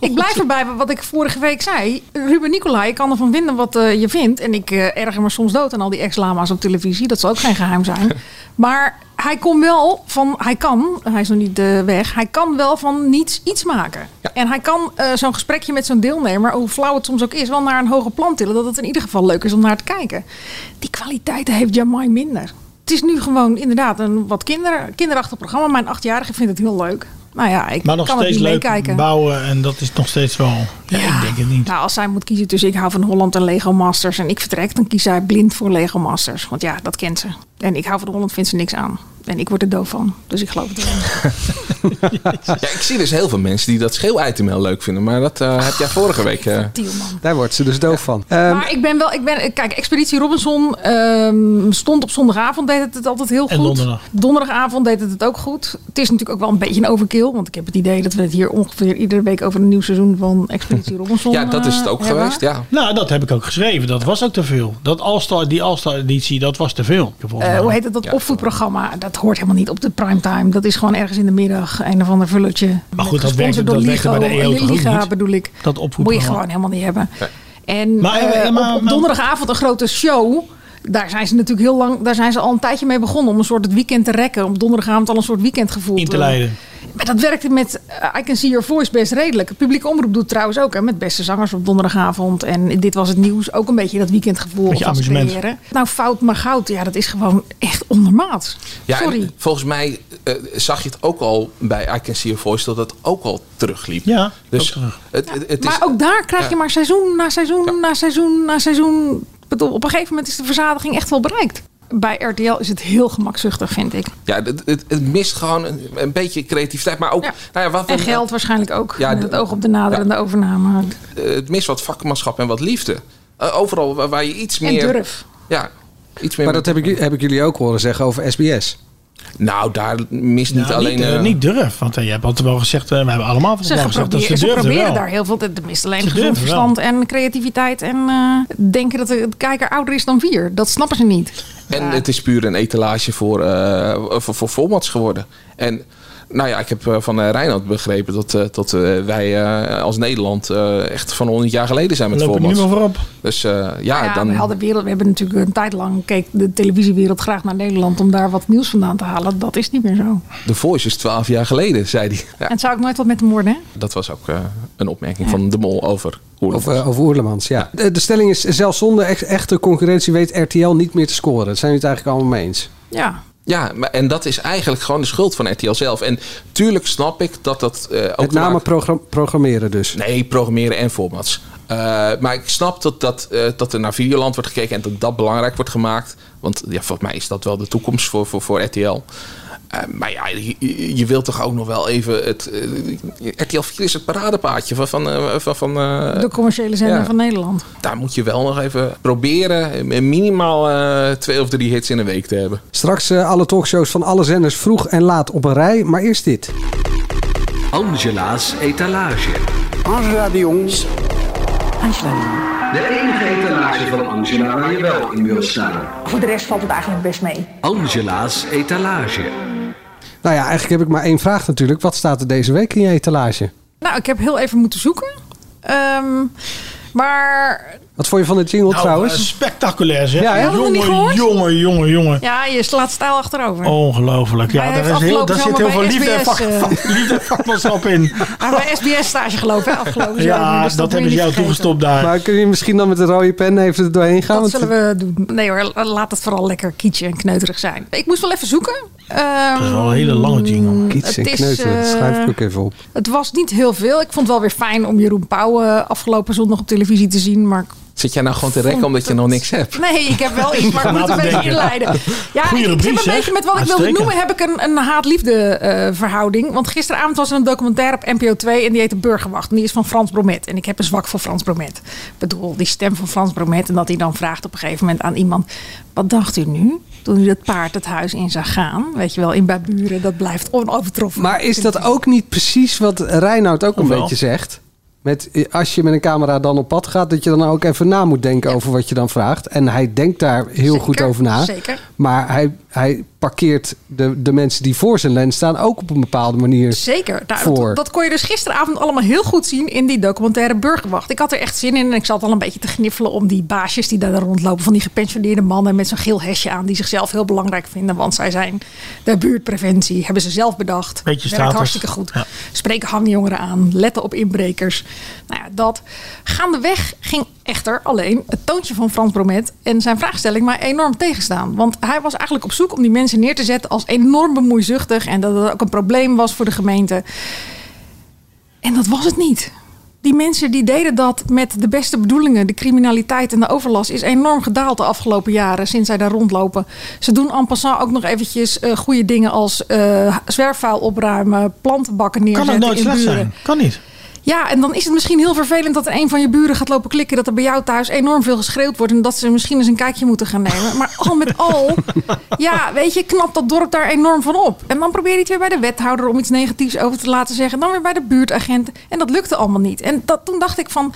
Speaker 10: ik blijf erbij wat ik vorige week zei. Ruben Nicolai, ik kan ervan vinden wat eh, je vindt. En ik eh, erger me soms dood aan al die ex-lama's op televisie. Dat zal ook geen geheim zijn. Maar hij kon wel van... Hij kan, hij is nog niet eh, weg. Hij kan wel van niets iets maken. En hij kan eh, zo'n gesprekje met zo'n deelnemer... hoe flauw het soms ook is, wel naar een hoger plan tillen. Dat het in ieder geval leuk is om naar te kijken. Die kwaliteiten heeft Jamai minder. Het is nu gewoon inderdaad een wat kinder, kinderachtig programma. Mijn achtjarige vindt het heel leuk. Nou ja, ik
Speaker 9: maar nog
Speaker 10: kan het
Speaker 9: steeds
Speaker 10: niet
Speaker 9: leuk
Speaker 10: meekijken.
Speaker 9: bouwen en dat is nog steeds wel... Ja, ik denk het niet.
Speaker 10: Nou, als zij moet kiezen tussen ik hou van Holland en Lego Masters en ik vertrek, dan kiest zij blind voor Lego Masters. Want ja, dat kent ze. En ik hou van Holland vindt ze niks aan. En ik word er doof van. Dus ik geloof het wel.
Speaker 8: Ja, ik zie dus heel veel mensen die dat scheel-item heel leuk vinden. Maar dat eh, heb jij vorige week. eh,
Speaker 7: Daar wordt ze dus doof van. Eh,
Speaker 10: maar ik ben wel, ik ben, kijk, Expeditie Robinson ehm, stond op zondagavond, deed het het altijd heel
Speaker 9: En
Speaker 10: goed.
Speaker 9: donderdag.
Speaker 10: Donderdagavond deed het het ook goed. Het is natuurlijk ook wel een beetje een overkill, want ik heb het idee dat we het hier ongeveer iedere week over een nieuw seizoen van Expeditie Robinson
Speaker 8: ja, dat is het
Speaker 10: eh,
Speaker 8: ook
Speaker 10: hebben.
Speaker 8: geweest. Ja.
Speaker 9: Nou, dat heb ik ook geschreven. Dat was ook te veel. Dat All-Star, die All-Star editie, dat was te veel.
Speaker 10: Eh, hoe heet het, dat opvoedprogramma? Dat hoort helemaal niet op de primetime. Dat is gewoon ergens in de middag, een of ander vulletje.
Speaker 9: Maar goed,
Speaker 10: Met
Speaker 9: dat werkte-
Speaker 10: gesponsord
Speaker 9: dat
Speaker 10: door
Speaker 9: werkte bij de
Speaker 10: Ligo,
Speaker 9: EO toch ook
Speaker 10: Liga
Speaker 9: niet?
Speaker 10: bedoel ik.
Speaker 9: Dat
Speaker 10: Moet je
Speaker 9: opvoedprogramma.
Speaker 10: gewoon helemaal niet hebben. En
Speaker 9: Maar,
Speaker 10: eh,
Speaker 9: eh, maar-
Speaker 10: op, op
Speaker 9: maar-
Speaker 10: donderdagavond een grote show. Daar zijn ze natuurlijk heel lang, daar zijn ze al een tijdje mee begonnen om een soort het weekend te rekken. Om donderdagavond al een soort weekendgevoel
Speaker 9: In te leiden.
Speaker 10: Maar dat werkte met eh, I Can See Your Voice best redelijk. Het publieke omroep doet trouwens ook hè, met beste zangers op donderdagavond. En dit was het nieuws. Ook een beetje dat weekendgevoel.
Speaker 9: Beetje
Speaker 10: van ze
Speaker 9: amusement.
Speaker 10: creëren. Nou, fout maar goud. Ja, dat is gewoon echt ondermaats.
Speaker 8: Ja, en
Speaker 10: Sorry.
Speaker 8: volgens mij eh, zag je het ook al bij I Can See Your Voice dat dat ook al terugliep.
Speaker 9: Ja,
Speaker 8: dus Het, het, het is,
Speaker 10: maar ook daar krijg
Speaker 8: ja.
Speaker 10: je maar seizoen na seizoen na seizoen na seizoen. Ik bedoel, op een gegeven moment is de verzadiging echt wel bereikt. Bij RTL is het heel gemakzuchtig, vind ik.
Speaker 8: Ja, het, het, het mist gewoon een, een beetje creativiteit. Maar ook, nou ja, wat,
Speaker 10: En geld waarschijnlijk ook.
Speaker 8: Ja,
Speaker 10: met
Speaker 8: de-
Speaker 10: het oog op de naderende overname.
Speaker 8: eh, het mist wat vakmanschap en wat liefde. Eh, overal waar, waar je iets
Speaker 10: En
Speaker 8: meer...
Speaker 10: durf.
Speaker 8: Ja, iets meer...
Speaker 7: maar dat heb ik, heb ik jullie ook horen zeggen over SBS.
Speaker 8: Nou, daar mist niet
Speaker 9: Nou,
Speaker 8: alleen...
Speaker 9: niet, eh,
Speaker 8: eh,
Speaker 9: niet durf, want eh, je hebt altijd wel gezegd, eh, we hebben allemaal van
Speaker 10: Ze,
Speaker 9: elkaar gezegd dat ze
Speaker 10: geprobeerd- ze
Speaker 9: durfden
Speaker 10: proberen
Speaker 9: wel.
Speaker 10: daar heel veel. Tenminste, alleen
Speaker 9: Ze
Speaker 10: gezond
Speaker 9: durven wel.
Speaker 10: verstand en creativiteit. En eh, denken dat de kijker ouder is dan vier. Dat snappen ze niet.
Speaker 8: En het is puur een etalage voor, eh, voor, voor formats geworden. En nou ja, ik heb eh, van eh, Reinhard begrepen dat, eh, dat eh, wij eh, als Nederland eh, echt van 100 jaar geleden zijn met
Speaker 9: Lopen
Speaker 8: formats.
Speaker 9: niet meer voorop.
Speaker 8: Dus eh, ja,
Speaker 10: Ja,
Speaker 8: dan...
Speaker 10: we, hadden wereld, we hebben natuurlijk een tijd lang keek de televisiewereld graag naar Nederland om daar wat nieuws vandaan te halen. Dat is niet meer zo.
Speaker 8: The Voice is 12 jaar geleden, zei hij. Ja,
Speaker 10: En het zou ook nooit wat met hem worden, hè?
Speaker 8: dat was ook eh, een opmerking van De Mol over Oerlof.
Speaker 7: Over, eh, over Oerlemans, ja. De, de stelling is, zelfs zonder ex- echte concurrentie weet RTL niet meer te scoren. Daar zijn we het eigenlijk allemaal mee eens.
Speaker 10: Ja.
Speaker 8: Ja, maar, en dat is eigenlijk gewoon de schuld van RTL zelf. En tuurlijk snap ik dat dat eh, ook...
Speaker 7: Met
Speaker 8: te maken-
Speaker 7: name program- programmeren dus.
Speaker 8: Nee, programmeren en formats. Eh, maar ik snap dat, dat, eh, dat er naar Videoland wordt gekeken en dat dat belangrijk wordt gemaakt. Want ja, volgens mij is dat wel de toekomst voor, voor, voor RTL. Eh, maar ja, je, je wilt toch ook nog wel even het... eh, RTL 4 is het paradepaadje van... van, eh, van, van eh,
Speaker 10: De commerciële zender
Speaker 8: ja.
Speaker 10: van Nederland.
Speaker 8: Daar moet je wel nog even proberen eh, minimaal eh, twee of drie hits in een week te hebben.
Speaker 7: Straks eh, alle talkshows van alle zenders vroeg en laat op een rij. Maar eerst dit.
Speaker 15: Angela's etalage.
Speaker 5: Angela de Jongs.
Speaker 15: De enige etalage van Angela waar je wel in wil staan.
Speaker 16: Voor de rest valt het eigenlijk best mee.
Speaker 15: Angela's etalage.
Speaker 7: Nou ja, eigenlijk heb ik maar één vraag natuurlijk. Wat staat er deze week in je etalage?
Speaker 10: Nou, ik heb heel even moeten zoeken. Ehm, maar
Speaker 7: Wat vond je van de jingle
Speaker 9: Nou, eh,
Speaker 7: trouwens?
Speaker 9: spectaculair zeg.
Speaker 7: Ja, hè? Hadden we niet
Speaker 9: jongen,
Speaker 7: gehoord?
Speaker 9: jongen, jongen, jongen.
Speaker 10: ja, je slaat stijl achterover.
Speaker 9: Oh. Ongelooflijk. Ja,
Speaker 10: Hij
Speaker 9: daar,
Speaker 10: heeft
Speaker 9: is heel, daar zit
Speaker 10: afgelopen
Speaker 9: heel veel
Speaker 10: zomer bij
Speaker 9: liefde en,
Speaker 10: SBS,
Speaker 9: vak,
Speaker 10: eh,
Speaker 9: vak- liefde en vakmanschap in.
Speaker 10: Hij heeft bij SBS stage gelopen hè, afgelopen zomer,
Speaker 9: Ja,
Speaker 10: dus moet
Speaker 9: dat
Speaker 10: je
Speaker 9: hebben ze jou
Speaker 10: niet vergeten. Mm.
Speaker 9: toegestopt daar.
Speaker 7: Maar kun je misschien dan met de rode pen even er doorheen gaan?
Speaker 10: eh, Dat
Speaker 7: Want-
Speaker 10: zullen we doen. Nee hoor, laat het vooral lekker kietje en kneuterig zijn. Ik moest wel even zoeken. Ehm,
Speaker 9: Dat is wel een hele lange jingle.
Speaker 7: Kiets en
Speaker 10: Het is,
Speaker 7: kneuter, dat
Speaker 10: eh,
Speaker 7: schrijf ik ook even op.
Speaker 10: Het was niet heel veel. Ik vond het wel weer fijn om Jeroen Pauw eh, afgelopen zondag op televisie te zien. Maar ik-
Speaker 8: Zit jij nou gewoon te rekken
Speaker 10: Vond
Speaker 8: omdat je
Speaker 10: het-
Speaker 8: nog niks hebt?
Speaker 10: nee, ik heb wel iets, maar ik moet het een beetje inleiden. Ja,
Speaker 8: Goeie
Speaker 10: ik, ik
Speaker 8: rubriek,
Speaker 10: zit een
Speaker 8: zeg.
Speaker 10: beetje met wat ik wilde
Speaker 8: Uitstekend.
Speaker 10: noemen. Heb ik een, een haat-liefde eh, verhouding. Want gisteravond was er een documentaire op NPO 2 en die heet De Burgerwacht. En die is van Frans Bromet. En ik heb een zwak voor Frans Bromet. Ik bedoel, die stem van Frans Bromet. En dat hij dan vraagt op een gegeven moment aan iemand... Wat dacht u nu toen u dat paard het huis in zag gaan? Weet je wel, in Baburen, dat blijft onovertroffen.
Speaker 7: Maar is dat ook niet precies wat Reinoud ook een
Speaker 10: Ofwel.
Speaker 7: beetje zegt? Met, eh, als je met een camera dan op pad gaat, dat je dan ook even na moet denken over wat je dan vraagt. En hij denkt daar heel goed over na.
Speaker 10: zeker.
Speaker 7: Maar hij, hij parkeert de, de mensen die voor zijn lens staan ook op een bepaalde manier.
Speaker 10: Zeker. Nou,
Speaker 7: voor.
Speaker 10: dat, dat kon je dus gisteravond allemaal heel goed zien in die documentaire Burgerwacht. Ik had er echt zin in en ik zat al een beetje te gniffelen om die baasjes die daar rondlopen. Van die gepensioneerde mannen met zo'n geel hesje aan. Die zichzelf heel belangrijk vinden, want zij zijn de buurtpreventie. Hebben ze zelf bedacht.
Speaker 9: Beetje
Speaker 10: Werkt
Speaker 9: status.
Speaker 10: hartstikke goed. Spreken hangjongeren aan. Letten op inbrekers. Nou ja, dat. Gaandeweg ging echter alleen het toontje van Frans Bromet en zijn vraagstelling mij enorm tegenstaan. Want hij was eigenlijk op zoek om die mensen neer te zetten als enorm bemoeizuchtig. En dat het ook een probleem was voor de gemeente. En dat was het niet. Die mensen die deden dat met de beste bedoelingen. De criminaliteit en de overlast is enorm gedaald de afgelopen jaren sinds zij daar rondlopen. Ze doen en passant ook nog eventjes eh, goede dingen als eh, zwerfvuil opruimen, plantenbakken
Speaker 9: Kan
Speaker 10: neerzetten
Speaker 9: het nooit
Speaker 10: in
Speaker 9: slecht
Speaker 10: buren.
Speaker 9: zijn? Kan niet.
Speaker 10: Ja, en dan is het misschien heel vervelend dat er een van je buren gaat lopen klikken dat er bij jou thuis enorm veel geschreeuwd wordt en dat ze misschien eens een kijkje moeten gaan nemen. Maar al met al, ja, weet je, knapt dat dorp daar enorm van op. En dan probeer je het weer bij de wethouder om iets negatiefs over te laten zeggen, dan weer bij de buurtagent en dat lukte allemaal niet. En dat, toen dacht ik van,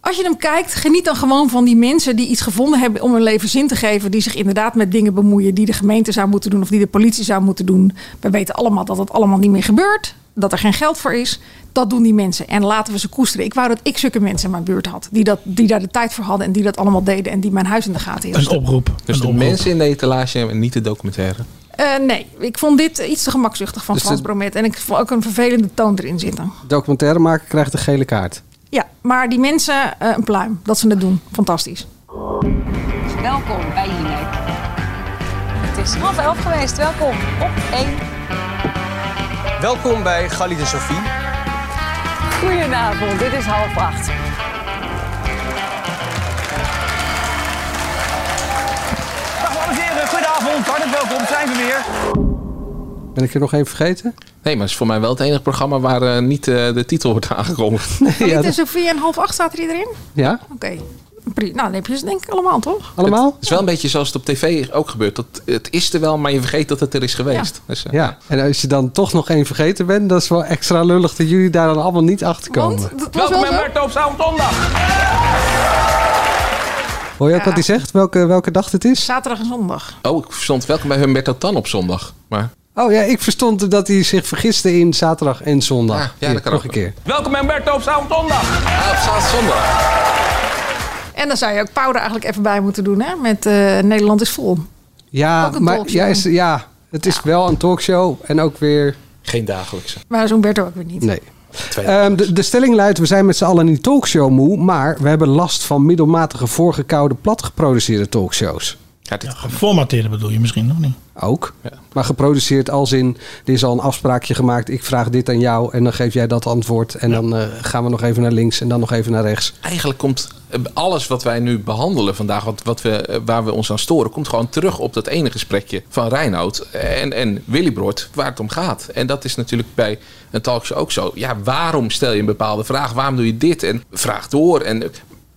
Speaker 10: als je hem kijkt, geniet dan gewoon van die mensen die iets gevonden hebben om hun leven zin te geven. Die zich inderdaad met dingen bemoeien die de gemeente zou moeten doen of die de politie zou moeten doen. We weten allemaal dat dat allemaal niet meer gebeurt. Dat er geen geld voor is. Dat doen die mensen. En laten we ze koesteren. Ik wou dat ik zulke mensen in mijn buurt had. Die, dat, die daar de tijd voor hadden en die dat allemaal deden. En die mijn huis in de gaten hielden.
Speaker 9: oproep.
Speaker 8: Dus de mensen in de etalage en niet de documentaire.
Speaker 10: Eh, nee, ik vond dit iets te gemakzuchtig van
Speaker 7: Dus
Speaker 10: Frans
Speaker 7: het-
Speaker 10: Bromet. En ik vond ook een vervelende toon erin zitten.
Speaker 7: Documentairemaker krijgt een gele kaart.
Speaker 10: Ja, maar die mensen, eh, een pluim. Dat ze het doen. Fantastisch.
Speaker 17: Welkom bij Jinek. Het is half elf geweest. Welkom op één.
Speaker 13: Welkom bij Galli de Sophie.
Speaker 17: Goedenavond, dit is half acht.
Speaker 13: Dag dames en heren, goedenavond. Hartelijk welkom, zijn we weer.
Speaker 7: Ben ik er nog één vergeten?
Speaker 8: Nee, maar het is voor mij wel het enige programma waar eh, niet eh, de titel wordt aangekondigd.
Speaker 10: Dit is Sophie en half acht staat er iedereen?
Speaker 7: Ja?
Speaker 10: Oké. Pri- Nou, dan heb je ze denk ik allemaal, toch?
Speaker 8: Het is wel een beetje zoals het op tv ook gebeurt. Dat, het is er wel, maar je vergeet dat het er is geweest. Dus, eh,
Speaker 7: Ja, en als je dan toch nog één vergeten bent, dat is wel extra lullig dat jullie daar dan allemaal niet achter komen.
Speaker 8: Welkom bij Markt op Zaterdag.
Speaker 7: Hoor je ook wat hij zegt? Welke, welke dag het is?
Speaker 10: Zaterdag en zondag.
Speaker 8: Oh, ik verstond welkom bij Humberto Tan op zondag. Maar,
Speaker 7: Oh ja, ik verstond dat hij zich vergiste in zaterdag en zondag.
Speaker 8: ja,
Speaker 7: Hier,
Speaker 8: dat kan
Speaker 7: nog
Speaker 8: ook.
Speaker 7: een keer.
Speaker 8: Welkom bij Humberto op Zaterdag. Ja, Ah, op Zaterdag.
Speaker 10: En dan zou je ook powder eigenlijk even bij moeten doen, hè? Met eh, Nederland is vol.
Speaker 7: Ja,
Speaker 10: Ook een
Speaker 7: maar
Speaker 10: talkshow.
Speaker 7: ja, is, ja, het is wel een talkshow en ook weer.
Speaker 8: Geen dagelijkse.
Speaker 10: Maar zo'n Berto ook weer niet.
Speaker 7: Nee. Ehm, de, de stelling luidt: we zijn met z'n allen niet talkshow moe, maar we hebben last van middelmatige, voorgekoude, platgeproduceerde talkshows.
Speaker 9: Geformateerde bedoel je misschien nog niet.
Speaker 7: Ook. Maar geproduceerd als in, er is al een afspraakje gemaakt. Ik vraag dit aan jou en dan geef jij dat antwoord. En dan eh, gaan we nog even naar links en dan nog even naar rechts.
Speaker 8: Eigenlijk komt eh, alles wat wij nu behandelen vandaag, wat, wat we, eh, waar we ons aan storen, komt gewoon terug op dat ene gesprekje van Reinoud en, en Willy Broert, waar het om gaat. En dat is natuurlijk bij een talkshow ook zo. Ja, waarom stel je een bepaalde vraag? Waarom doe je dit? En vraag door. En, eh,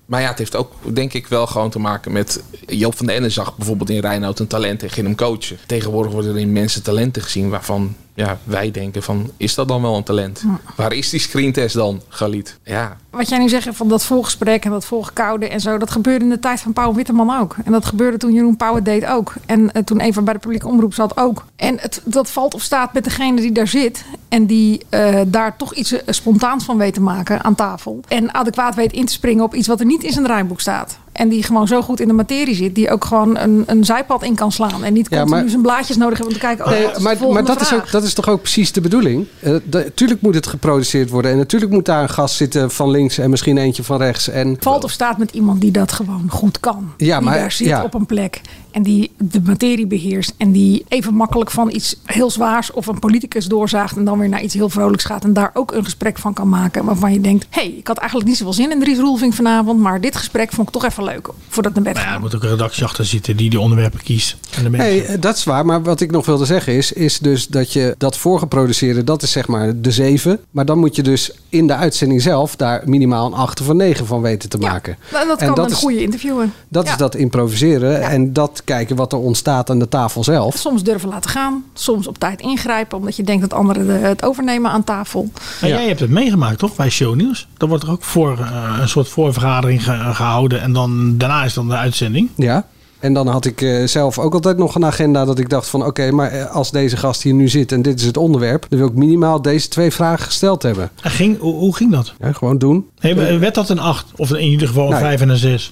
Speaker 8: maar ja, het heeft ook denk ik wel gewoon te maken met... Joop van den Ende zag bijvoorbeeld in Reinoud een talent en ging hem coachen. Tegenwoordig worden er in mensen talenten gezien waarvan ja, wij denken van... Is dat dan wel een talent? Waar is die screentest dan, Galit? Ja,
Speaker 10: Wat jij nu zegt van dat volgesprek en dat volgekoude en zo, dat gebeurde in de tijd van Pauw Witteman ook. En dat gebeurde toen Jeroen Pauw het deed ook. En eh, toen Eva bij de publieke omroep zat ook. En het, dat valt of staat met degene die daar zit en die eh, daar toch iets eh, spontaans van weet te maken aan tafel. En adequaat weet in te springen op iets wat er niet in zijn draaiboek staat. En die gewoon zo goed in de materie zit, die ook gewoon een, een zijpad in kan slaan. En niet
Speaker 7: Ja,
Speaker 10: continu
Speaker 7: maar-
Speaker 10: zijn blaadjes nodig hebben om te kijken. Oh,
Speaker 7: Nee,
Speaker 10: wat is de
Speaker 7: maar maar
Speaker 10: volgende
Speaker 7: dat, is
Speaker 10: vraag?
Speaker 7: ook, dat is toch ook precies de bedoeling? Natuurlijk moet het geproduceerd worden. En natuurlijk moet daar een gast zitten van links en misschien eentje van rechts. En
Speaker 10: valt of staat met iemand die dat gewoon goed kan.
Speaker 7: Ja, maar-
Speaker 10: die daar zit
Speaker 7: ja.
Speaker 10: op een plek en die de materie beheerst. En die even makkelijk van iets heel zwaars of een politicus doorzaagt. En dan weer naar iets heel vrolijks gaat. En daar ook een gesprek van kan maken. Waarvan je denkt, hé, hey, ik had eigenlijk niet zoveel zin in Dries Roelving vanavond. Maar dit gesprek vond ik toch even leuk. Voordat ik naar bed ga.
Speaker 9: Nou Er moet ook een redactie achter zitten die de onderwerpen kiest. En de mensen.
Speaker 7: Nee, eh, dat is waar. Maar wat ik nog wilde zeggen is, is dus dat je dat voorgeproduceerde, dat is zeg maar de 7. Maar dan moet je dus in de uitzending zelf daar minimaal een 8 of een 9 van weten te maken.
Speaker 10: En dat kan een
Speaker 7: is-
Speaker 10: goede interviewer.
Speaker 7: Dat
Speaker 10: Ja.
Speaker 7: is dat improviseren en dat kijken wat er ontstaat aan de tafel zelf.
Speaker 10: Soms durven laten gaan. Soms op tijd ingrijpen. Omdat je denkt dat anderen de- het overnemen aan tafel.
Speaker 9: Maar jij hebt het meegemaakt, toch? Bij shownieuws. Dan wordt er ook voor eh, een soort voorvergadering ge- gehouden. En dan daarna is dan de uitzending.
Speaker 7: Ja. En dan had ik eh, zelf ook altijd nog een agenda dat ik dacht van oké, maar eh, als deze gast hier nu zit en dit is het onderwerp, dan wil ik minimaal deze twee vragen gesteld hebben.
Speaker 9: En ging, hoe, hoe ging dat?
Speaker 7: Ja, gewoon doen.
Speaker 9: Nee, maar werd dat een 8? Of in ieder geval een 5 en een 6?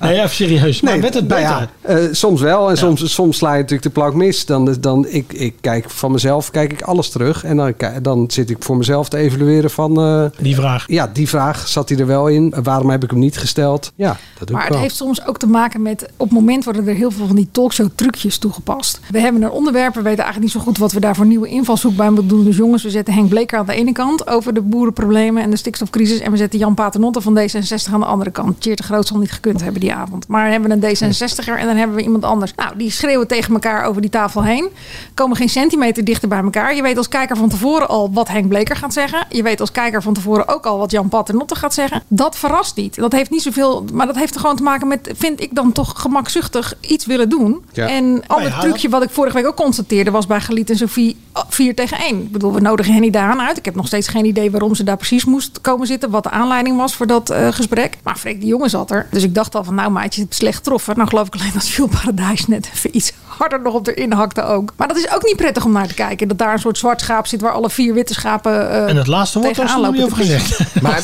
Speaker 9: nee, even serieus. Maar werd het
Speaker 7: nou
Speaker 9: beter?
Speaker 7: ja, eh, soms wel. En soms, soms sla je natuurlijk de plank mis. Dan, eh, dan, ik, ik kijk van mezelf kijk ik alles terug. En dan, ki- dan zit ik voor mezelf te evalueren van... eh,
Speaker 9: die vraag.
Speaker 7: Ja, die vraag zat hij er wel in. Waarom heb ik hem niet gesteld? Ja, dat doe
Speaker 10: Maar
Speaker 7: ik
Speaker 10: het
Speaker 7: wel.
Speaker 10: heeft soms ook te maken met. Op het moment worden er heel veel van die talkshow-trucjes toegepast. We hebben een onderwerp, we weten eigenlijk niet zo goed wat we daar voor nieuwe invalshoek bij moeten doen. Dus jongens, we zetten Henk Bleker aan de ene kant over de boerenproblemen en de stikstofcrisis. En we zetten Jan Paternotte van D66 aan de andere kant. Cheert de Groot zal niet gekund hebben die avond. Maar hebben we een D66er en dan hebben we iemand anders. Nou, die schreeuwen tegen elkaar over die tafel heen. Komen geen centimeter dichter bij elkaar. Je weet als kijker van tevoren al wat Henk Bleker gaat zeggen. Je weet als kijker van tevoren ook al wat Jan Paternotte gaat zeggen. Dat verrast niet. Dat heeft niet zoveel. Maar dat heeft er gewoon te maken met. Vind ik dan toch gemakzuchtig iets willen doen?
Speaker 18: Ja.
Speaker 10: En al
Speaker 18: Nou
Speaker 10: het
Speaker 18: ja,
Speaker 10: trucje wat ik vorige week ook constateerde. was bij Galiet en Sophie 4 tegen 1. Ik bedoel, we nodigen Henny daaraan uit. Ik heb nog steeds geen idee waarom ze daar precies moest komen zitten. wat de aanleiding was voor dat eh, gesprek. Maar Freek de Jonge zat er. Dus ik dacht al van. nou maatje, je hebt slecht getroffen. Nou geloof ik alleen dat Jules Paradijs net even iets harder nog op erin hakte ook. Maar dat is ook niet prettig om naar te kijken. Dat daar een soort zwart schaap zit waar alle vier witte schapen. eh,
Speaker 9: En het laatste woord was
Speaker 10: tegenaan
Speaker 9: er nog niet
Speaker 10: lopen
Speaker 9: over
Speaker 10: te
Speaker 9: gezegd. Maar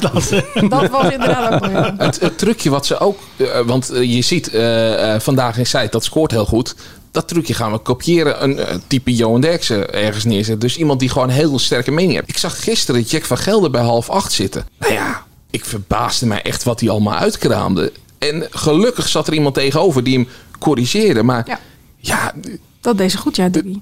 Speaker 10: Dat was inderdaad ook. mooi.
Speaker 8: Het, het trucje wat ze ook. eh, want eh, je ziet eh, eh, vandaag in site dat scoort heel goed. Dat trucje gaan we kopiëren. Een eh, type Johan Derksen ergens neerzetten. Dus iemand die gewoon heel sterke mening heeft. Ik zag gisteren Jack van Gelder bij half acht zitten. Nou ja, ik verbaasde mij echt wat hij allemaal uitkraamde. En gelukkig zat er iemand tegenover die hem corrigeerde. Maar ja,
Speaker 10: Dat deze goed, ja, Dibby.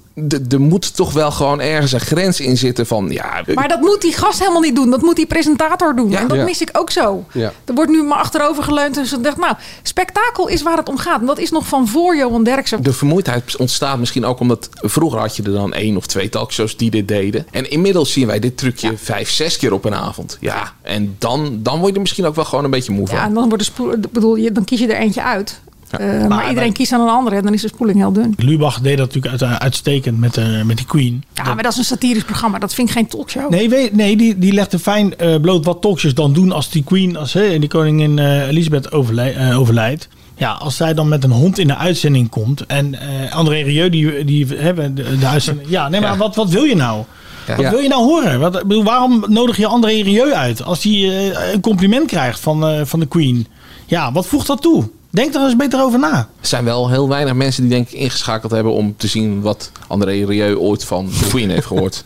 Speaker 8: Er moet toch wel gewoon ergens een grens in zitten van... Ja,
Speaker 10: Maar dat moet die gast helemaal niet doen. Dat moet die presentator doen. en dat
Speaker 8: Ja.
Speaker 10: mis ik ook zo.
Speaker 8: Ja.
Speaker 10: Er wordt nu maar achterover geleund en ze dacht, nou, spektakel is waar het om gaat. En dat is nog van voor Johan Derksen.
Speaker 8: De vermoeidheid ontstaat misschien ook omdat vroeger had je er dan één of twee talkshows die dit deden. En inmiddels zien wij dit trucje vijf, zes keer op een avond. Ja, en dan, dan word je er misschien ook wel gewoon een beetje moe van.
Speaker 10: Ja, en dan, wordt de spoel, ik bedoel, je- dan kies je er eentje uit.
Speaker 8: Ja.
Speaker 10: Eh, maar,
Speaker 8: Maar
Speaker 10: iedereen kiest aan een andere en dan is de spoeling heel dun.
Speaker 9: Lubach deed dat natuurlijk uit- uitstekend met, eh, met die Queen.
Speaker 10: Ja, maar dat is een satirisch programma. Dat vind ik geen talkshow.
Speaker 9: Nee, weet- nee die, die legde fijn eh, bloot wat talkshows dan doen als die queen als, hè, die koningin eh, Elisabeth overlij- eh, overlijdt. Ja, als zij dan met een hond in de uitzending komt. En eh, André Rieu, die, die hebben de, de uitzending. Ja, nee, maar Wat, wat wil je nou? Wat
Speaker 18: Ja.
Speaker 9: wil je nou horen? Wat, ik bedoel, waarom nodig je André Rieu uit als hij eh, een compliment krijgt van, eh, van de queen? Ja, wat voegt dat toe? Denk er eens beter over na.
Speaker 8: Er zijn wel heel weinig mensen die denk ik ingeschakeld hebben om te zien wat André Rieu ooit van de Queen heeft gehoord.